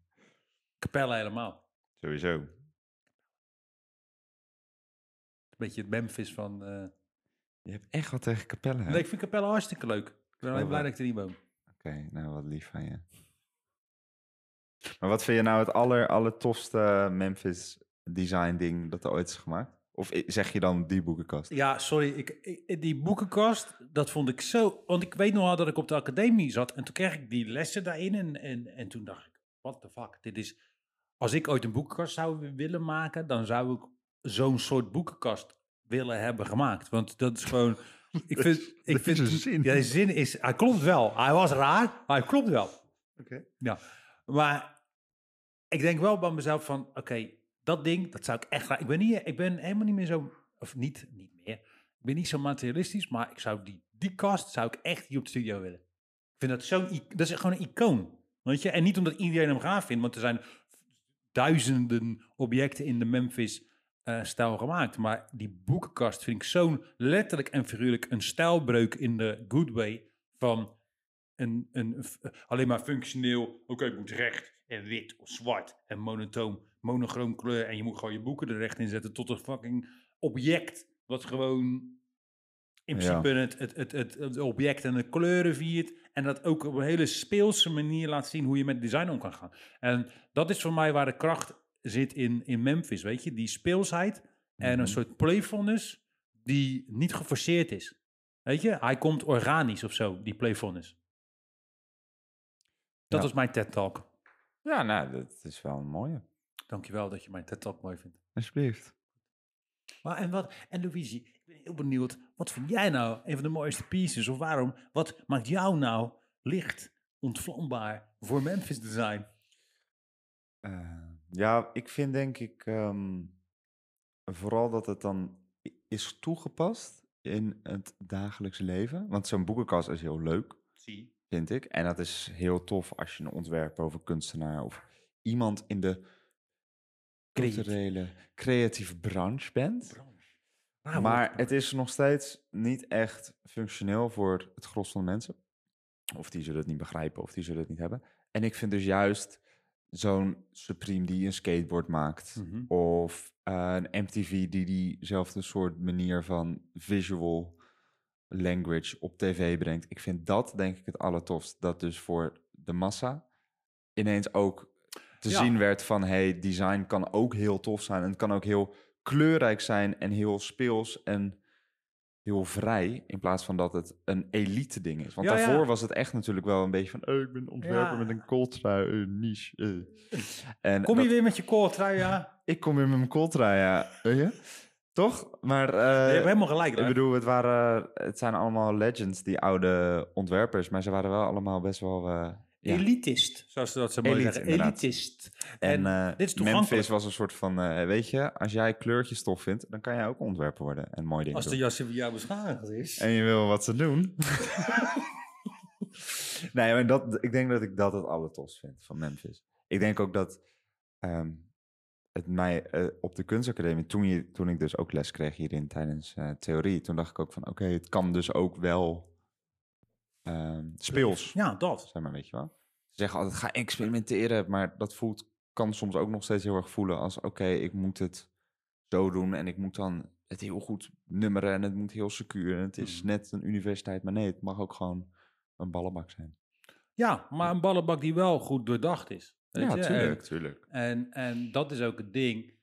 [SPEAKER 1] Capelle helemaal. Een
[SPEAKER 2] Sowieso.
[SPEAKER 1] beetje het Memphis van... eh,
[SPEAKER 2] Je hebt echt wat tegen Capelle, hè?
[SPEAKER 1] Nee, ik vind Capelle hartstikke leuk. Ik ben alleen
[SPEAKER 2] wel.
[SPEAKER 1] blij dat ik er niet woon.
[SPEAKER 2] Oké, nou wat lief van je. Maar wat vind je nou het aller, allertofste Memphis design ding dat er ooit is gemaakt? Of i- zeg je dan die boekenkast?
[SPEAKER 1] Ja, sorry. Ik, ik- die boekenkast, dat vond ik zo... Want ik weet nog wel dat ik op de academie zat. En toen kreeg ik die lessen daarin. En, en, en toen dacht ik, what the fuck. Dit is... Als ik ooit een boekenkast zou willen maken... dan zou ik zo'n soort boekenkast willen hebben gemaakt. Want dat is gewoon... Ik vind... Ik vind
[SPEAKER 2] Deze zin.
[SPEAKER 1] Ja, die zin is... Hij klopt wel. Hij was raar, maar hij klopt wel.
[SPEAKER 2] Oké.
[SPEAKER 1] Ja. Maar ik denk wel bij mezelf van, oké, dat ding, dat zou ik echt... graag- Ik ben, niet, ik ben helemaal niet meer zo... Of niet, niet meer. Ik ben niet zo materialistisch, maar ik zou die, die kast zou ik echt hier op de studio willen. Ik vind dat zo'n... i- Dat is gewoon een icoon. Weet je? En niet omdat iedereen hem gaaf vindt, want er zijn duizenden objecten in de Memphis eh, stijl gemaakt. Maar die boekenkast vind ik zo'n letterlijk en figuurlijk een stijlbreuk in de good way van een, een, f- alleen maar functioneel. Oké, het moet recht en wit of zwart en monotoom, monochroom kleur. En je moet gewoon je boeken er recht in zetten tot een fucking object wat gewoon in
[SPEAKER 2] Ja.
[SPEAKER 1] principe het, het, het, het, het object en de kleuren viert. En dat ook op een hele speelse manier laat zien hoe je met design om kan gaan. En dat is voor mij waar de kracht zit in, in Memphis, weet je? Die speelsheid en
[SPEAKER 2] Mhm.
[SPEAKER 1] een soort playfulness die niet geforceerd is. Weet je, hij komt organisch of zo, die playfulness. Dat
[SPEAKER 2] Ja.
[SPEAKER 1] was mijn TED-talk.
[SPEAKER 2] Ja, nou, dat is wel een mooie.
[SPEAKER 1] Dankjewel dat je mijn TED-talk mooi vindt.
[SPEAKER 2] Alsjeblieft.
[SPEAKER 1] Maar en, wat, en Luigi, ik ben heel benieuwd. Wat vind jij nou een van de mooiste pieces? Of waarom? Wat maakt jou nou licht, ontvlambaar voor Memphis Design?
[SPEAKER 2] Eh, ja, ik vind denk ik ehm, vooral dat het dan i- is toegepast in het dagelijks leven. Want zo'n boekenkast is heel leuk.
[SPEAKER 1] Zie.
[SPEAKER 2] vind ik. En dat is heel tof als je een ontwerper of een kunstenaar of iemand in de
[SPEAKER 1] Creatief.
[SPEAKER 2] culturele creatieve branche bent.
[SPEAKER 1] Ah, Nou,
[SPEAKER 2] Maar het is nog steeds niet echt functioneel voor het gros van de mensen. Of die zullen het niet begrijpen of die zullen het niet hebben. En ik vind dus juist zo'n Supreme die een skateboard maakt.
[SPEAKER 1] Mhm.
[SPEAKER 2] Of eh, een MTV die diezelfde soort manier van visual language op tv brengt. Ik vind dat denk ik het allertofst. Dat dus voor de massa ineens ook te
[SPEAKER 1] Ja.
[SPEAKER 2] zien werd van... hey, design kan ook heel tof zijn. En het kan ook heel kleurrijk zijn en heel speels en heel vrij. In plaats van dat het een elite ding is. Want
[SPEAKER 1] Ja, ja.
[SPEAKER 2] daarvoor was het echt natuurlijk wel een beetje van... oh, ik ben ontwerper
[SPEAKER 1] Ja.
[SPEAKER 2] met een kooltrui, eh, niche. eh. En
[SPEAKER 1] Kom
[SPEAKER 2] dat-
[SPEAKER 1] je weer met je kooltrui, ja?
[SPEAKER 2] ik kom in mijn kooltrui, ja. Weet je? Toch? Maar
[SPEAKER 1] je
[SPEAKER 2] eh,
[SPEAKER 1] hebt helemaal gelijk,
[SPEAKER 2] ik
[SPEAKER 1] daar.
[SPEAKER 2] bedoel, het, waren, het zijn allemaal legends, die oude ontwerpers. Maar ze waren wel allemaal best wel... eh, ja.
[SPEAKER 1] Elitist, zoals ze dat zo mooi
[SPEAKER 2] Elite,
[SPEAKER 1] zeggen.
[SPEAKER 2] inderdaad.
[SPEAKER 1] Elitist.
[SPEAKER 2] En, eh,
[SPEAKER 1] dit is toegankelijk.
[SPEAKER 2] Memphis was een soort van, eh, weet je, als jij kleurtjes tof vindt, dan kan jij ook ontwerper worden en mooi dingen
[SPEAKER 1] Als
[SPEAKER 2] doen.
[SPEAKER 1] de jas van jou beschadigd is.
[SPEAKER 2] En je wil wat ze doen. [laughs] nee, maar dat, ik denk dat ik dat het allertofst vind van Memphis. Ik denk ook dat ehm, het mij eh, op de kunstacademie, toen, je, toen ik dus ook les kreeg hierin tijdens eh, theorie, toen dacht ik ook van oké, het kan dus ook wel ehm, speels.
[SPEAKER 1] Ja, dat.
[SPEAKER 2] Zeg maar, weet je wel. Ze zeggen altijd ga experimenteren, maar dat voelt, kan soms ook nog steeds heel erg voelen als oké, ik moet het zo doen en ik moet dan het heel goed nummeren en het moet heel secuur. En het is
[SPEAKER 1] Mhm.
[SPEAKER 2] net een universiteit, maar nee, het mag ook gewoon een ballenbak zijn.
[SPEAKER 1] Ja, maar een ballenbak die wel goed doordacht is. Weet je?
[SPEAKER 2] tuurlijk.
[SPEAKER 1] En, en, en dat is ook het ding.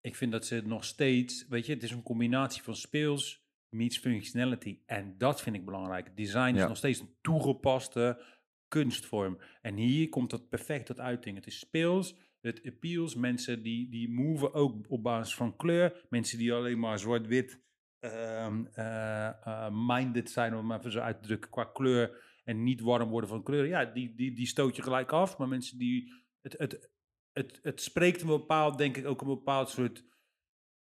[SPEAKER 1] Ik vind dat ze het nog steeds... Weet je, het is een combinatie van speels meets functionality. En dat vind ik belangrijk. Design is
[SPEAKER 2] Ja.
[SPEAKER 1] nog steeds een toegepaste kunstvorm. En hier komt dat perfect tot uiting. Het is speels, het appeals. Mensen die, die moven ook op basis van kleur. Mensen die alleen maar zwart-wit ehm, eh, eh, minded zijn, om het even zo uit te drukken, qua kleur. En niet warm worden van kleuren. Ja, die, die, die stoot je gelijk af. Maar mensen die... Het, het, het, het spreekt een bepaald, denk ik, ook een bepaald soort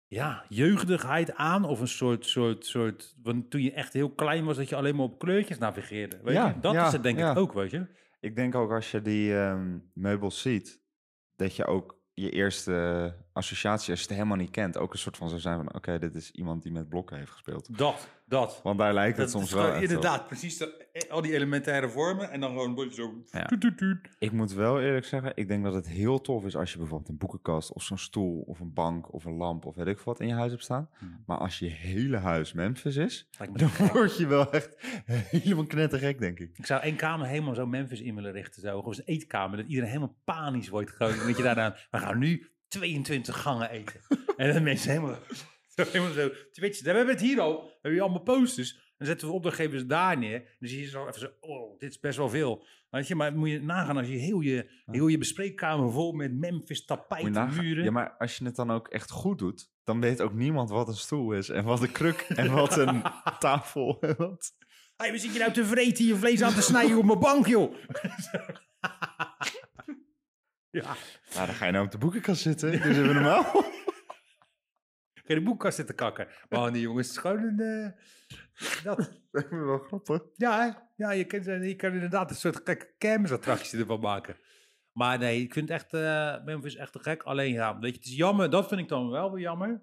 [SPEAKER 1] ja, jeugdigheid aan. Of een soort, soort, soort... Want toen je echt heel klein was, dat je alleen maar op kleurtjes navigeerde. Weet
[SPEAKER 2] Ja,
[SPEAKER 1] je? Dat
[SPEAKER 2] ja,
[SPEAKER 1] is het denk
[SPEAKER 2] ja.
[SPEAKER 1] ik ook, weet je?
[SPEAKER 2] Ik denk ook als je die ehm, meubels ziet, dat je ook je eerste associatie, als je het helemaal niet kent, ook een soort van zou zijn van, oké, dit is iemand die met blokken heeft gespeeld.
[SPEAKER 1] Dat, dat.
[SPEAKER 2] Want daar lijkt het soms
[SPEAKER 1] is
[SPEAKER 2] wel
[SPEAKER 1] gewoon
[SPEAKER 2] echt op.
[SPEAKER 1] Inderdaad, precies. de- eh, al die elementaire vormen en dan gewoon een beetje zo...
[SPEAKER 2] Ja.
[SPEAKER 1] Tuut, tuut, tuut.
[SPEAKER 2] Ik moet wel eerlijk zeggen, ik denk dat het heel tof is als je bijvoorbeeld een boekenkast of zo'n stoel of een bank of een lamp of weet ik wat in je huis hebt staan.
[SPEAKER 1] Hmm.
[SPEAKER 2] Maar als je hele huis Memphis is,
[SPEAKER 1] Lijkt me
[SPEAKER 2] dan [laughs]
[SPEAKER 1] gek.
[SPEAKER 2] word je wel echt helemaal knettergek, denk ik.
[SPEAKER 1] Ik zou één kamer helemaal zo Memphis in willen richten. Zo. Gewoon een eetkamer. Dat iedereen helemaal panisch wordt. Gewoon, dat je daarna... We gaan nu 22 gangen eten. en dan mensen helemaal... Zo, helemaal zo. Twitch. We hebben het hier al. We hebben hier allemaal posters. En dan zetten we opdrachtgevers daar neer. Dan zie je zo even zo... Oh, dit is best wel veel. Weet je, maar moet je nagaan als je heel je, heel je bespreekkamer vol met Memphis tapijt
[SPEAKER 2] Moet je nagaan.
[SPEAKER 1] muren...
[SPEAKER 2] Ja, maar als je het dan ook echt goed doet, dan weet ook niemand wat een stoel is en wat een [laughs] kruk en wat een tafel. en wat-
[SPEAKER 1] Hé, hey, we zitten je nou te vreten je vlees aan te snijden op mijn bank, joh. [laughs] ja.
[SPEAKER 2] Nou, dan ga je nou op de boekenkast zitten. [laughs] Dus even normaal.
[SPEAKER 1] Geen de boekkast zitten kakken. Maar die jongens, het is gewoon een... eh, dat.
[SPEAKER 2] Dat is wel grappig.
[SPEAKER 1] Ja, hè? ja je, kan, je kan inderdaad een soort gekke kermisattractie ervan maken. Maar nee, ik vind echt, eh Memphis echt te gek. Alleen ja, weet je, het is jammer. Dat vind ik dan wel weer jammer.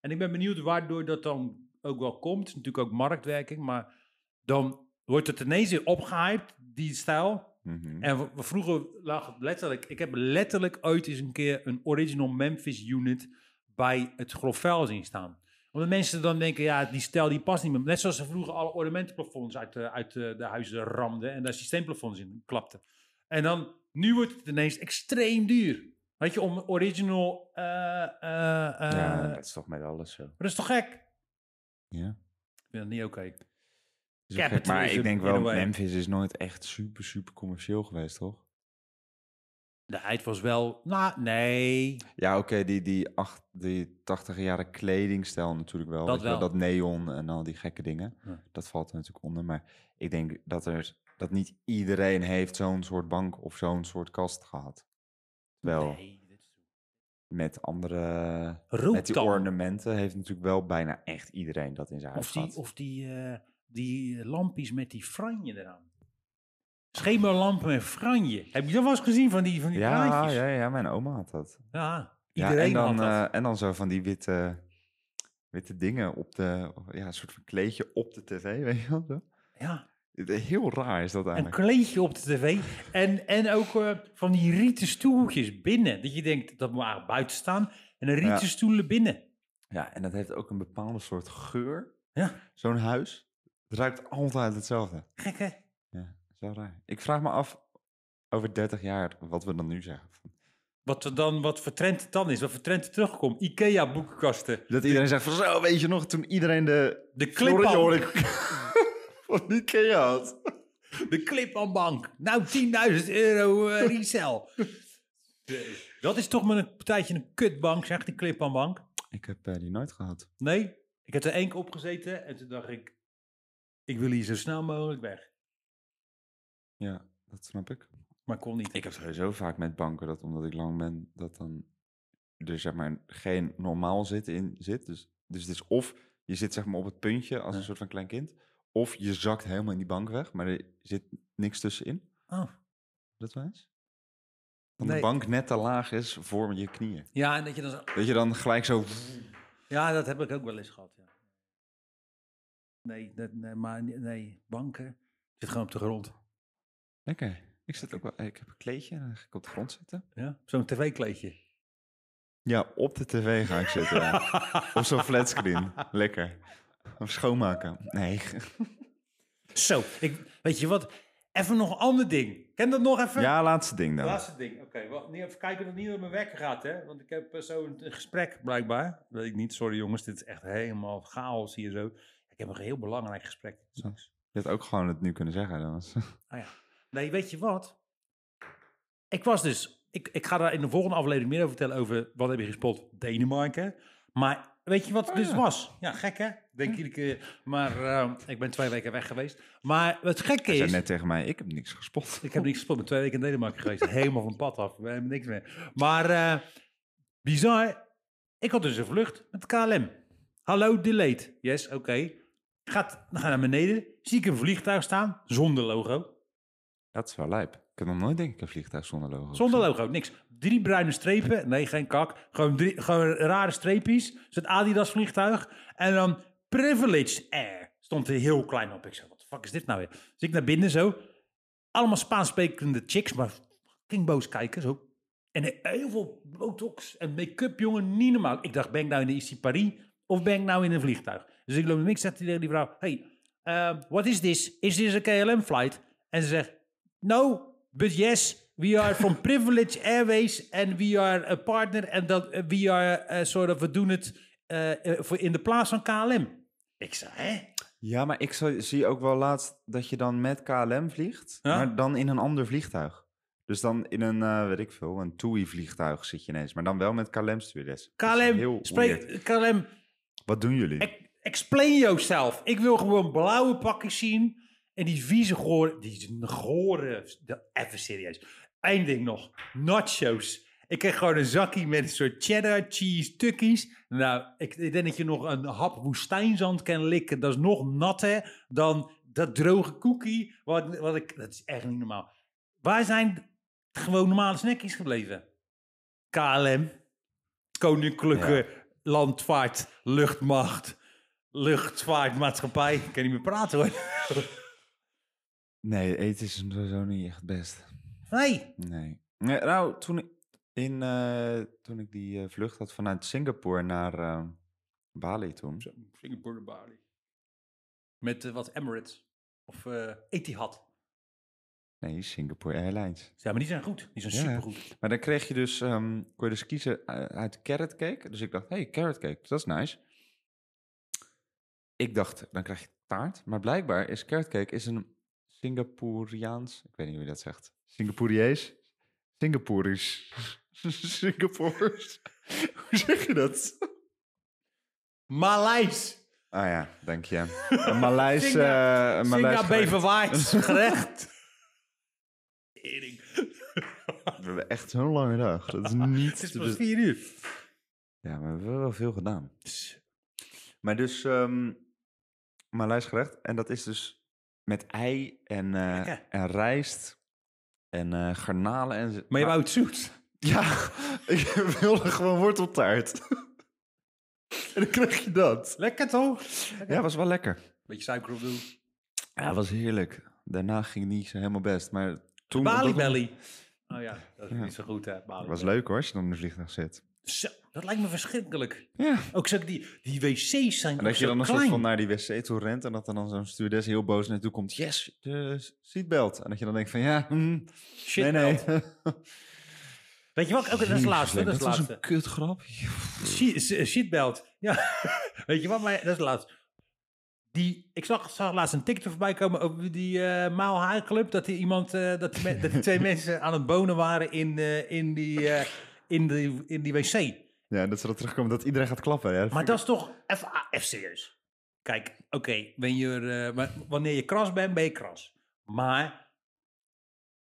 [SPEAKER 1] En ik ben benieuwd waardoor dat dan ook wel komt. Het is natuurlijk ook marktwerking, maar dan wordt het ineens weer opgehyped, die stijl.
[SPEAKER 2] Mhm.
[SPEAKER 1] En we- we vroeger lag het letterlijk. Ik heb letterlijk ooit eens een keer een original Memphis unit bij het grof vuil zien staan. Omdat mensen dan denken, ja, die stijl die past niet meer. Net zoals ze vroeger alle ornamentenplafonds uit, de- uit eh, de, de huizen ramden en daar systeemplafonds in klapten. En dan, nu wordt het ineens extreem duur. Weet je, om original... eh, eh, eh,
[SPEAKER 2] ja,
[SPEAKER 1] Maar
[SPEAKER 2] dat is toch met alles zo.
[SPEAKER 1] dat is toch gek?
[SPEAKER 2] Ja.
[SPEAKER 1] Ik vind dat niet oké.
[SPEAKER 2] Is ook gek, maar
[SPEAKER 1] Capitalism
[SPEAKER 2] ik denk
[SPEAKER 1] in a
[SPEAKER 2] wel,
[SPEAKER 1] way.
[SPEAKER 2] Memphis is nooit echt super, super commercieel geweest, toch?
[SPEAKER 1] De heid was wel... Nou, nee.
[SPEAKER 2] Ja, oké, die, die, acht, die 80 jaren kledingstijl natuurlijk wel.
[SPEAKER 1] Dat
[SPEAKER 2] weet je
[SPEAKER 1] wel.
[SPEAKER 2] dat neon en al die gekke dingen.
[SPEAKER 1] Ja.
[SPEAKER 2] Dat valt er natuurlijk onder. Maar ik denk dat, er, dat niet iedereen heeft zo'n soort bank of zo'n soort kast gehad. Wel,
[SPEAKER 1] Nee, dit is-
[SPEAKER 2] met andere... Met die
[SPEAKER 1] Rotan.
[SPEAKER 2] ornamenten heeft natuurlijk wel bijna echt iedereen dat in zijn huis
[SPEAKER 1] Of die,
[SPEAKER 2] gehad.
[SPEAKER 1] of die, eh, die lampjes met die franje eraan. Schemerlamp met franje. Heb je dat wel eens gezien van die, van die
[SPEAKER 2] ja,
[SPEAKER 1] plaatjes? Ja,
[SPEAKER 2] ja, ja, mijn oma had dat. Ja,
[SPEAKER 1] iedereen
[SPEAKER 2] en dan,
[SPEAKER 1] had dat.
[SPEAKER 2] eh, en dan zo van die witte, witte dingen op de... Ja, een soort van kleedje op de tv, [laughs] weet je wel. zo.
[SPEAKER 1] ja.
[SPEAKER 2] eh, Heel raar is dat
[SPEAKER 1] Een
[SPEAKER 2] eigenlijk.
[SPEAKER 1] kleedje op de tv. En, en ook eh, van die rieten stoeltjes binnen. Dat je denkt, dat moet eigenlijk buiten staan. En een rieten
[SPEAKER 2] Ja.
[SPEAKER 1] stoelen binnen.
[SPEAKER 2] Ja, en dat heeft ook een bepaalde soort geur.
[SPEAKER 1] Ja.
[SPEAKER 2] Zo'n huis. Het ruikt altijd hetzelfde.
[SPEAKER 1] Gek hè?
[SPEAKER 2] Zo raar. Ik vraag me af over 30 jaar wat we dan nu zeggen.
[SPEAKER 1] Wat, er dan, wat voor trend het dan is. Wat voor trend er terugkomt. Ikea boekenkasten.
[SPEAKER 2] Dat iedereen zegt van zo, weet je nog, toen iedereen de...
[SPEAKER 1] De
[SPEAKER 2] Florian
[SPEAKER 1] clip
[SPEAKER 2] [laughs] van Ikea had.
[SPEAKER 1] De clip aan bank. Nou, 10.000 euro [laughs] eh, resell. Dat is toch met een partijtje een kutbank, zegt die clip aan bank.
[SPEAKER 2] Ik heb eh, die nooit gehad.
[SPEAKER 1] Nee, ik heb er één keer op gezeten en toen dacht ik, ik wil hier zo snel mogelijk weg.
[SPEAKER 2] Ja, dat snap ik.
[SPEAKER 1] Maar kon niet.
[SPEAKER 2] Ik heb sowieso vaak met banken dat omdat ik lang ben, dat dan er zeg maar geen normaal zit in zit. Dus, dus het is of je zit zeg maar op het puntje als een
[SPEAKER 1] Ja.
[SPEAKER 2] soort van klein kind, of je zakt helemaal in die bank weg, maar er zit niks tussenin.
[SPEAKER 1] Oh.
[SPEAKER 2] Dat wel eens? Dan de
[SPEAKER 1] Nee.
[SPEAKER 2] bank net te laag is voor je knieën.
[SPEAKER 1] Ja, en dat je dan zo-
[SPEAKER 2] Dat je dan gelijk zo...
[SPEAKER 1] ja, dat heb ik ook wel eens gehad. Ja. Nee, dat, nee, maar nee, nee, banken. Ik zit gewoon op de grond.
[SPEAKER 2] Lekker. Ik, zit ook wel, ik heb een kleedje en dan ga ik op de grond zitten.
[SPEAKER 1] Ja? Zo'n tv-kleedje.
[SPEAKER 2] Ja, op de tv ga ik zitten. ja. Op [laughs] zo'n flatscreen. Lekker. Of schoonmaken. Nee.
[SPEAKER 1] Zo, ik, weet je wat? Even nog een ander ding. Ken dat nog even?
[SPEAKER 2] Ja, laatste ding dan.
[SPEAKER 1] Laatste ding. Oké, wacht, nee, even kijken of het niet door mijn wekker gaat, hè? Want ik heb eh, zo een, een gesprek, blijkbaar. Weet ik niet. Sorry jongens, dit is echt helemaal chaos hier zo. Ik heb een heel belangrijk gesprek. straks.
[SPEAKER 2] Je had ook gewoon het nu kunnen zeggen. Dan was... [laughs]
[SPEAKER 1] Ah ja. Nee, weet je wat? Ik was dus... Ik, ik ga daar in de volgende aflevering meer over vertellen over... Wat heb je gespot? Denemarken. Maar weet je wat het
[SPEAKER 2] Oh
[SPEAKER 1] dus
[SPEAKER 2] ja.
[SPEAKER 1] was? Ja, gek hè?
[SPEAKER 2] Hm.
[SPEAKER 1] Denk iedere keer. Maar ehm, ik ben twee weken weg geweest. Maar het gekke
[SPEAKER 2] Hij
[SPEAKER 1] is...
[SPEAKER 2] zei net tegen mij, ik heb niks gespot.
[SPEAKER 1] Ik heb niks gespot. Ik ben twee weken in Denemarken geweest. Helemaal van pad af. We hebben niks meer. Maar eh, bizar. Ik had dus een vlucht met KLM. Hallo, delayed. Yes, oké. Gaat, dan ga ik naar beneden. Zie ik een vliegtuig staan zonder logo.
[SPEAKER 2] Dat is wel lijp. Ik heb nog nooit denk ik een vliegtuig zonder logo.
[SPEAKER 1] Zonder logo, niks. Drie bruine strepen. Nee, geen kak. Gewoon, drie, gewoon rare streepjes. Zo'n Adidas vliegtuig. En dan Privileged Air. Stond er heel klein op. Ik zei, wat de fuck is dit nou weer? Dus ik naar binnen zo. Allemaal Spaans sprekende chicks, maar fucking boos kijken zo. En heel veel botox en make-up, jongen, niet normaal. Ik dacht, ben ik nou in de IC Paris of ben ik nou in een vliegtuig? Dus ik loop niks, zegt die tegen die vrouw, hey, eh, what is this? Is this a KLM flight? En ze zegt, No, but yes, we are from [laughs] Privilege Airways and we are a partner and that uh, we are uh, sort of we doen het eh, eh, voor in de plaats van KLM. Ik zei, hè?
[SPEAKER 2] Ja, maar ik zo- zie ook wel laatst dat je dan met KLM vliegt,
[SPEAKER 1] Ja.
[SPEAKER 2] maar dan in een ander vliegtuig. Dus dan in een, eh, weet ik veel, een TUI-vliegtuig zit je ineens. Maar dan wel met KLM stewardess. Dat is
[SPEAKER 1] KLM,
[SPEAKER 2] heel weird.
[SPEAKER 1] spreek, KLM,
[SPEAKER 2] Wat doen jullie?
[SPEAKER 1] ex- explain yourself. Ik wil gewoon blauwe pakjes zien en die vieze gore, die gore, de- even serieus. Eén ding nog, nachos. Ik kreeg gewoon een zakje met een soort cheddar cheese tukkies. Nou, ik, ik denk dat je nog een hap woestijnzand kan likken. Dat is nog natter dan dat droge koekie. Wat, wat ik, dat is echt niet normaal. Waar zijn gewoon normale snackies gebleven? KLM, Koninklijke
[SPEAKER 2] Ja.
[SPEAKER 1] Landvaart, Luchtmacht, Luchtvaartmaatschappij. Ik kan niet meer praten hoor.
[SPEAKER 2] Nee, eten is sowieso niet echt best.
[SPEAKER 1] Nee.
[SPEAKER 2] Nee. Nee, nou, toen ik, in, eh, toen ik die eh, vlucht had vanuit Singapore naar eh, Bali toen.
[SPEAKER 1] Singapore Bali. Met eh, wat Emirates of eh, Etihad.
[SPEAKER 2] Nee, Singapore Airlines.
[SPEAKER 1] Ja, maar die zijn goed. Die zijn
[SPEAKER 2] Ja.
[SPEAKER 1] supergoed.
[SPEAKER 2] Maar dan kreeg je dus, ehm, kon je dus kiezen eh, uit carrot cake. Dus ik dacht, hey, carrot cake, dat is nice. Ik dacht, dan krijg je taart. Maar blijkbaar is carrot cake is een Singaporeaans, ik weet niet hoe je dat zegt. Singaporees? Singaporees. [laughs] Singaporees. hoe zeg je dat?
[SPEAKER 1] Maleis.
[SPEAKER 2] Ah ja, dank je. Een Maleis...
[SPEAKER 1] Singa-
[SPEAKER 2] eh, een Maleis
[SPEAKER 1] Singa Beverwaarts
[SPEAKER 2] [laughs]
[SPEAKER 1] gerecht. Tering.
[SPEAKER 2] We hebben echt zo'n lange dag. Dat is
[SPEAKER 1] [laughs] Het
[SPEAKER 2] niet...
[SPEAKER 1] is
[SPEAKER 2] te
[SPEAKER 1] pas
[SPEAKER 2] be-
[SPEAKER 1] vier uur.
[SPEAKER 2] Ja, maar we hebben wel veel gedaan. Maar dus ehm Maleis gerecht. En dat is dus met ei en, eh,
[SPEAKER 1] Lekker.
[SPEAKER 2] en rijst en eh, garnalen. En zo-
[SPEAKER 1] Maar je wou het zoet.
[SPEAKER 2] [laughs] Ja, ik wilde gewoon worteltaart. en dan krijg je dat.
[SPEAKER 1] Lekker toch?
[SPEAKER 2] Ja, was wel lekker.
[SPEAKER 1] Beetje suiker op doen.
[SPEAKER 2] Ja, was heerlijk. Daarna ging het niet zo helemaal best. Maar toen...
[SPEAKER 1] Bali
[SPEAKER 2] dat-
[SPEAKER 1] Belly. Oh ja, dat is
[SPEAKER 2] Ja.
[SPEAKER 1] niet zo goed hè. Bali
[SPEAKER 2] was
[SPEAKER 1] Belly.
[SPEAKER 2] leuk hoor, als je dan in de vliegtuig zit.
[SPEAKER 1] Zo, dat lijkt me verschrikkelijk.
[SPEAKER 2] Ja.
[SPEAKER 1] Ook zo, die, die wc's zijn
[SPEAKER 2] En
[SPEAKER 1] ook
[SPEAKER 2] dat je
[SPEAKER 1] zo
[SPEAKER 2] dan een soort
[SPEAKER 1] klein.
[SPEAKER 2] van naar die wc toe rent en dat er dan zo'n stewardess heel boos naartoe komt. Yes, de seatbelt. En dat je dan denkt van ja, hm,
[SPEAKER 1] Shit,
[SPEAKER 2] nee,
[SPEAKER 1] man.
[SPEAKER 2] nee.
[SPEAKER 1] Weet je wat? Ook, dat
[SPEAKER 2] [laughs]
[SPEAKER 1] is het laatste. Dat is het
[SPEAKER 2] was
[SPEAKER 1] laatste.
[SPEAKER 2] een kutgrap.
[SPEAKER 1] Shi- s- eh, Shitbelt. Ja, [laughs] weet je wat? Maar dat is het laatste. Die, ik zag, zag laatst een TikTok voorbij komen over die eh Maal High Club. Dat, die iemand, eh, dat, die me- dat die twee mensen aan het bonen waren in, eh, in, die, eh, in, die, in die wc.
[SPEAKER 2] Ja, dat ze dat terugkomen dat iedereen gaat klappen. Ja.
[SPEAKER 1] Maar dat is toch even ah, even serieus. Kijk, oké, wanneer, eh, wa- wanneer je kras bent, ben je kras. Maar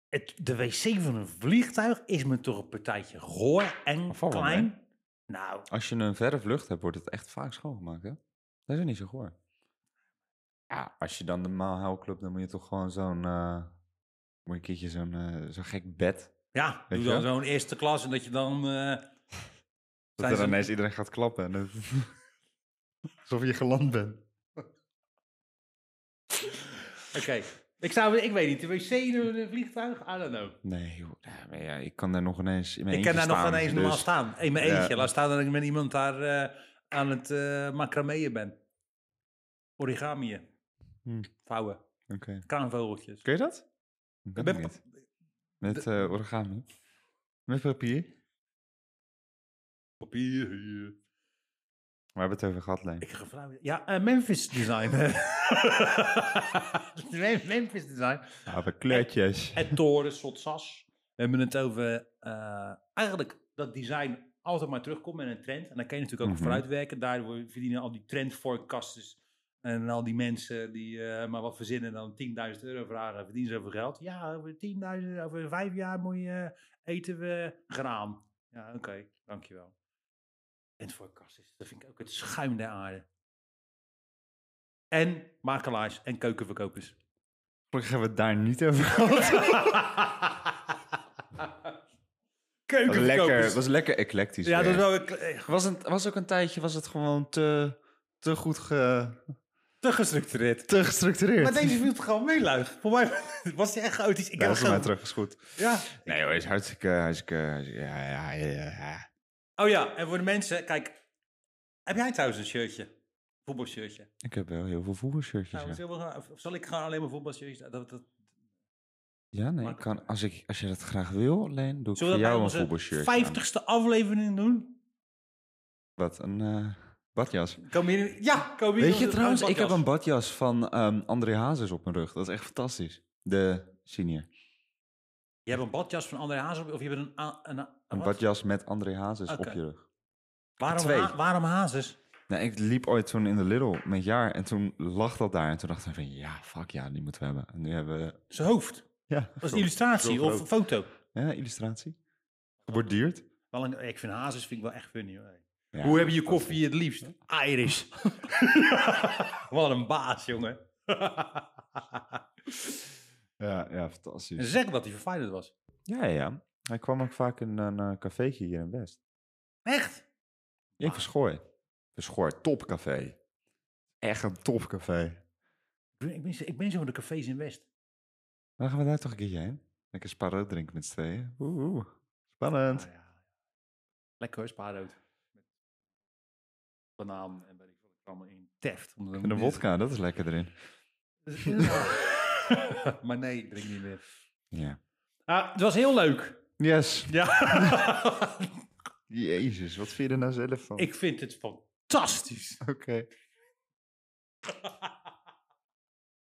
[SPEAKER 1] het, de wc van een vliegtuig is me toch een partijtje goor en
[SPEAKER 2] Valt wel
[SPEAKER 1] klein. nou,
[SPEAKER 2] Als je een verre vlucht hebt, wordt het echt vaak schoongemaakt. Hè? Dat is niet zo goor. Ja, als je dan de Mile High Club, dan moet je toch gewoon zo'n... eh, moet je een keertje zo'n eh, zo'n gek bed.
[SPEAKER 1] ja,
[SPEAKER 2] Weet
[SPEAKER 1] doe
[SPEAKER 2] je
[SPEAKER 1] dan
[SPEAKER 2] wel?
[SPEAKER 1] zo'n eerste klas en dat je dan... eh,
[SPEAKER 2] Dat
[SPEAKER 1] zijn
[SPEAKER 2] er
[SPEAKER 1] ze-
[SPEAKER 2] ineens iedereen gaat klappen. En dat... Alsof je geland bent.
[SPEAKER 1] Oké, ik zou, ik weet niet, de wc door een eh, vliegtuig? I don't know.
[SPEAKER 2] [laughs] Nee, joh. Ja, maar ja, ik kan daar nog ineens in mijn
[SPEAKER 1] Ik kan daar
[SPEAKER 2] eentje
[SPEAKER 1] nog
[SPEAKER 2] staan,
[SPEAKER 1] ineens normaal
[SPEAKER 2] dus-
[SPEAKER 1] staan. In mijn
[SPEAKER 2] Ja.
[SPEAKER 1] eentje. Laat staan dat ik met iemand daar eh, aan het eh macrameën ben. Origamieën.
[SPEAKER 2] Hm.
[SPEAKER 1] Vouwen.
[SPEAKER 2] Oké.
[SPEAKER 1] Kraanvogeltjes.
[SPEAKER 2] Kun je dat? Ik
[SPEAKER 1] Ik
[SPEAKER 2] kan
[SPEAKER 1] ben
[SPEAKER 2] het niet.
[SPEAKER 1] pa-
[SPEAKER 2] Met eh origami. Met papier.
[SPEAKER 1] papier hier.
[SPEAKER 2] Waar hebben we het over gehad, Leen?
[SPEAKER 1] Ik ga flauw- Ja, eh, Memphis Design.
[SPEAKER 2] [laughs]
[SPEAKER 1] [laughs] Mem- Memphis Design.
[SPEAKER 2] Ah, we [laughs] kleurtjes.
[SPEAKER 1] Het toren, Sotsas. We hebben het over eh, eigenlijk dat design altijd maar terugkomt met een trend. En daar kan je natuurlijk ook
[SPEAKER 2] Mhm.
[SPEAKER 1] vooruit werken. Daardoor verdienen al die trendforecasters en al die mensen die eh, maar wat verzinnen en dan 10.000 euro vragen. Verdienen zoveel geld? Ja, over 10.000, over vijf jaar moet je, eh, eten we graan. Ja, oké, dankjewel. En voor een kast is, dat vind ik ook het schuim der aarde. En makelaars en keukenverkopers.
[SPEAKER 2] Gelukkig hebben we het daar niet over gehad. [laughs]
[SPEAKER 1] keukenverkopers.
[SPEAKER 2] Lekker, was lekker eclectisch.
[SPEAKER 1] ja, dat
[SPEAKER 2] weer.
[SPEAKER 1] is wel een kle-
[SPEAKER 2] Was, een, was ook een tijdje was het gewoon te, te goed ge,
[SPEAKER 1] te gestructureerd.
[SPEAKER 2] te gestructureerd.
[SPEAKER 1] Maar deze viel het gewoon mee, luid. Voor mij [laughs] was hij echt chaotisch. Ik
[SPEAKER 2] Ja,
[SPEAKER 1] heb
[SPEAKER 2] is voor mij
[SPEAKER 1] gewoon...
[SPEAKER 2] terug, is goed.
[SPEAKER 1] Ja.
[SPEAKER 2] Nee hoor, is hartstikke, hartstikke, ja, ja, ja, ja.
[SPEAKER 1] Oh ja, en voor de mensen, kijk. Heb jij thuis een shirtje? Voetbalshirtje?
[SPEAKER 2] Ik heb wel heel veel voetbalshirtjes,
[SPEAKER 1] Nou,
[SPEAKER 2] ja.
[SPEAKER 1] zullen we gaan- of zal ik gewoon alleen maar voetbalshirtjes? Dat, dat,
[SPEAKER 2] Ja, nee, ik kan, als, ik, als je dat graag wil, Leen, doe
[SPEAKER 1] zullen
[SPEAKER 2] ik voor
[SPEAKER 1] we dat bij
[SPEAKER 2] jou een
[SPEAKER 1] onze
[SPEAKER 2] voetbalshirt aan.
[SPEAKER 1] 50ste aflevering doen?
[SPEAKER 2] Wat, een eh, badjas.
[SPEAKER 1] Kom hier, ja, kom hier.
[SPEAKER 2] Weet je trouwens, ik heb een badjas van ehm, André Hazes op mijn rug. Dat is echt fantastisch. De senior.
[SPEAKER 1] Je hebt een badjas van André Hazes op, of je hebt een... a- een, a-
[SPEAKER 2] Een
[SPEAKER 1] wat?
[SPEAKER 2] badjas met André Hazes
[SPEAKER 1] Oké.
[SPEAKER 2] op je rug.
[SPEAKER 1] Waarom,
[SPEAKER 2] twee.
[SPEAKER 1] Ha- waarom Hazes?
[SPEAKER 2] Nou, ik liep ooit toen in de Lidl met jaar en toen lag dat daar. En toen dacht ik van, ja, fuck ja, die moeten we hebben. En nu hebben we...
[SPEAKER 1] Zijn hoofd.
[SPEAKER 2] Ja,
[SPEAKER 1] Dat is
[SPEAKER 2] zo-
[SPEAKER 1] een illustratie
[SPEAKER 2] zo
[SPEAKER 1] of
[SPEAKER 2] groot.
[SPEAKER 1] een foto.
[SPEAKER 2] Ja, illustratie. Wordt duurd.
[SPEAKER 1] Wel een, ik vind Hazes vind ik wel echt funny. hoor.
[SPEAKER 2] Ja.
[SPEAKER 1] Hoe heb je je koffie het liefst? [laughs] Irish. Wat een baas, jongen.
[SPEAKER 2] Ja, ja, fantastisch.
[SPEAKER 1] zeg dat hij verwijderd was.
[SPEAKER 2] Ja, ja. Hij kwam ook vaak in een eh, cafeetje hier in West.
[SPEAKER 1] Echt?
[SPEAKER 2] In Verschooi. Verschooi, topcafé. Echt een topcafé.
[SPEAKER 1] Ik ben, ik ben, zo- ik ben zo van de cafés in West.
[SPEAKER 2] Dan gaan we daar toch een keertje heen. Lekker sparrow drinken met z'n tweeën. Oeh, oeh. spannend.
[SPEAKER 1] Ah, ja. Lekker hoor, spaarrood. Met banaan en weet ik veel wat allemaal in. Teft. Om
[SPEAKER 2] En een
[SPEAKER 1] [laughs]
[SPEAKER 2] wodka, dat is lekker erin.
[SPEAKER 1] maar nee, ik drink niet meer.
[SPEAKER 2] Ja.
[SPEAKER 1] Ah, het was heel leuk.
[SPEAKER 2] Yes.
[SPEAKER 1] Ja.
[SPEAKER 2] Jezus,
[SPEAKER 1] Oh.
[SPEAKER 2] wat vind je er nou zelf van?
[SPEAKER 1] ik vind het fantastisch.
[SPEAKER 2] Oké.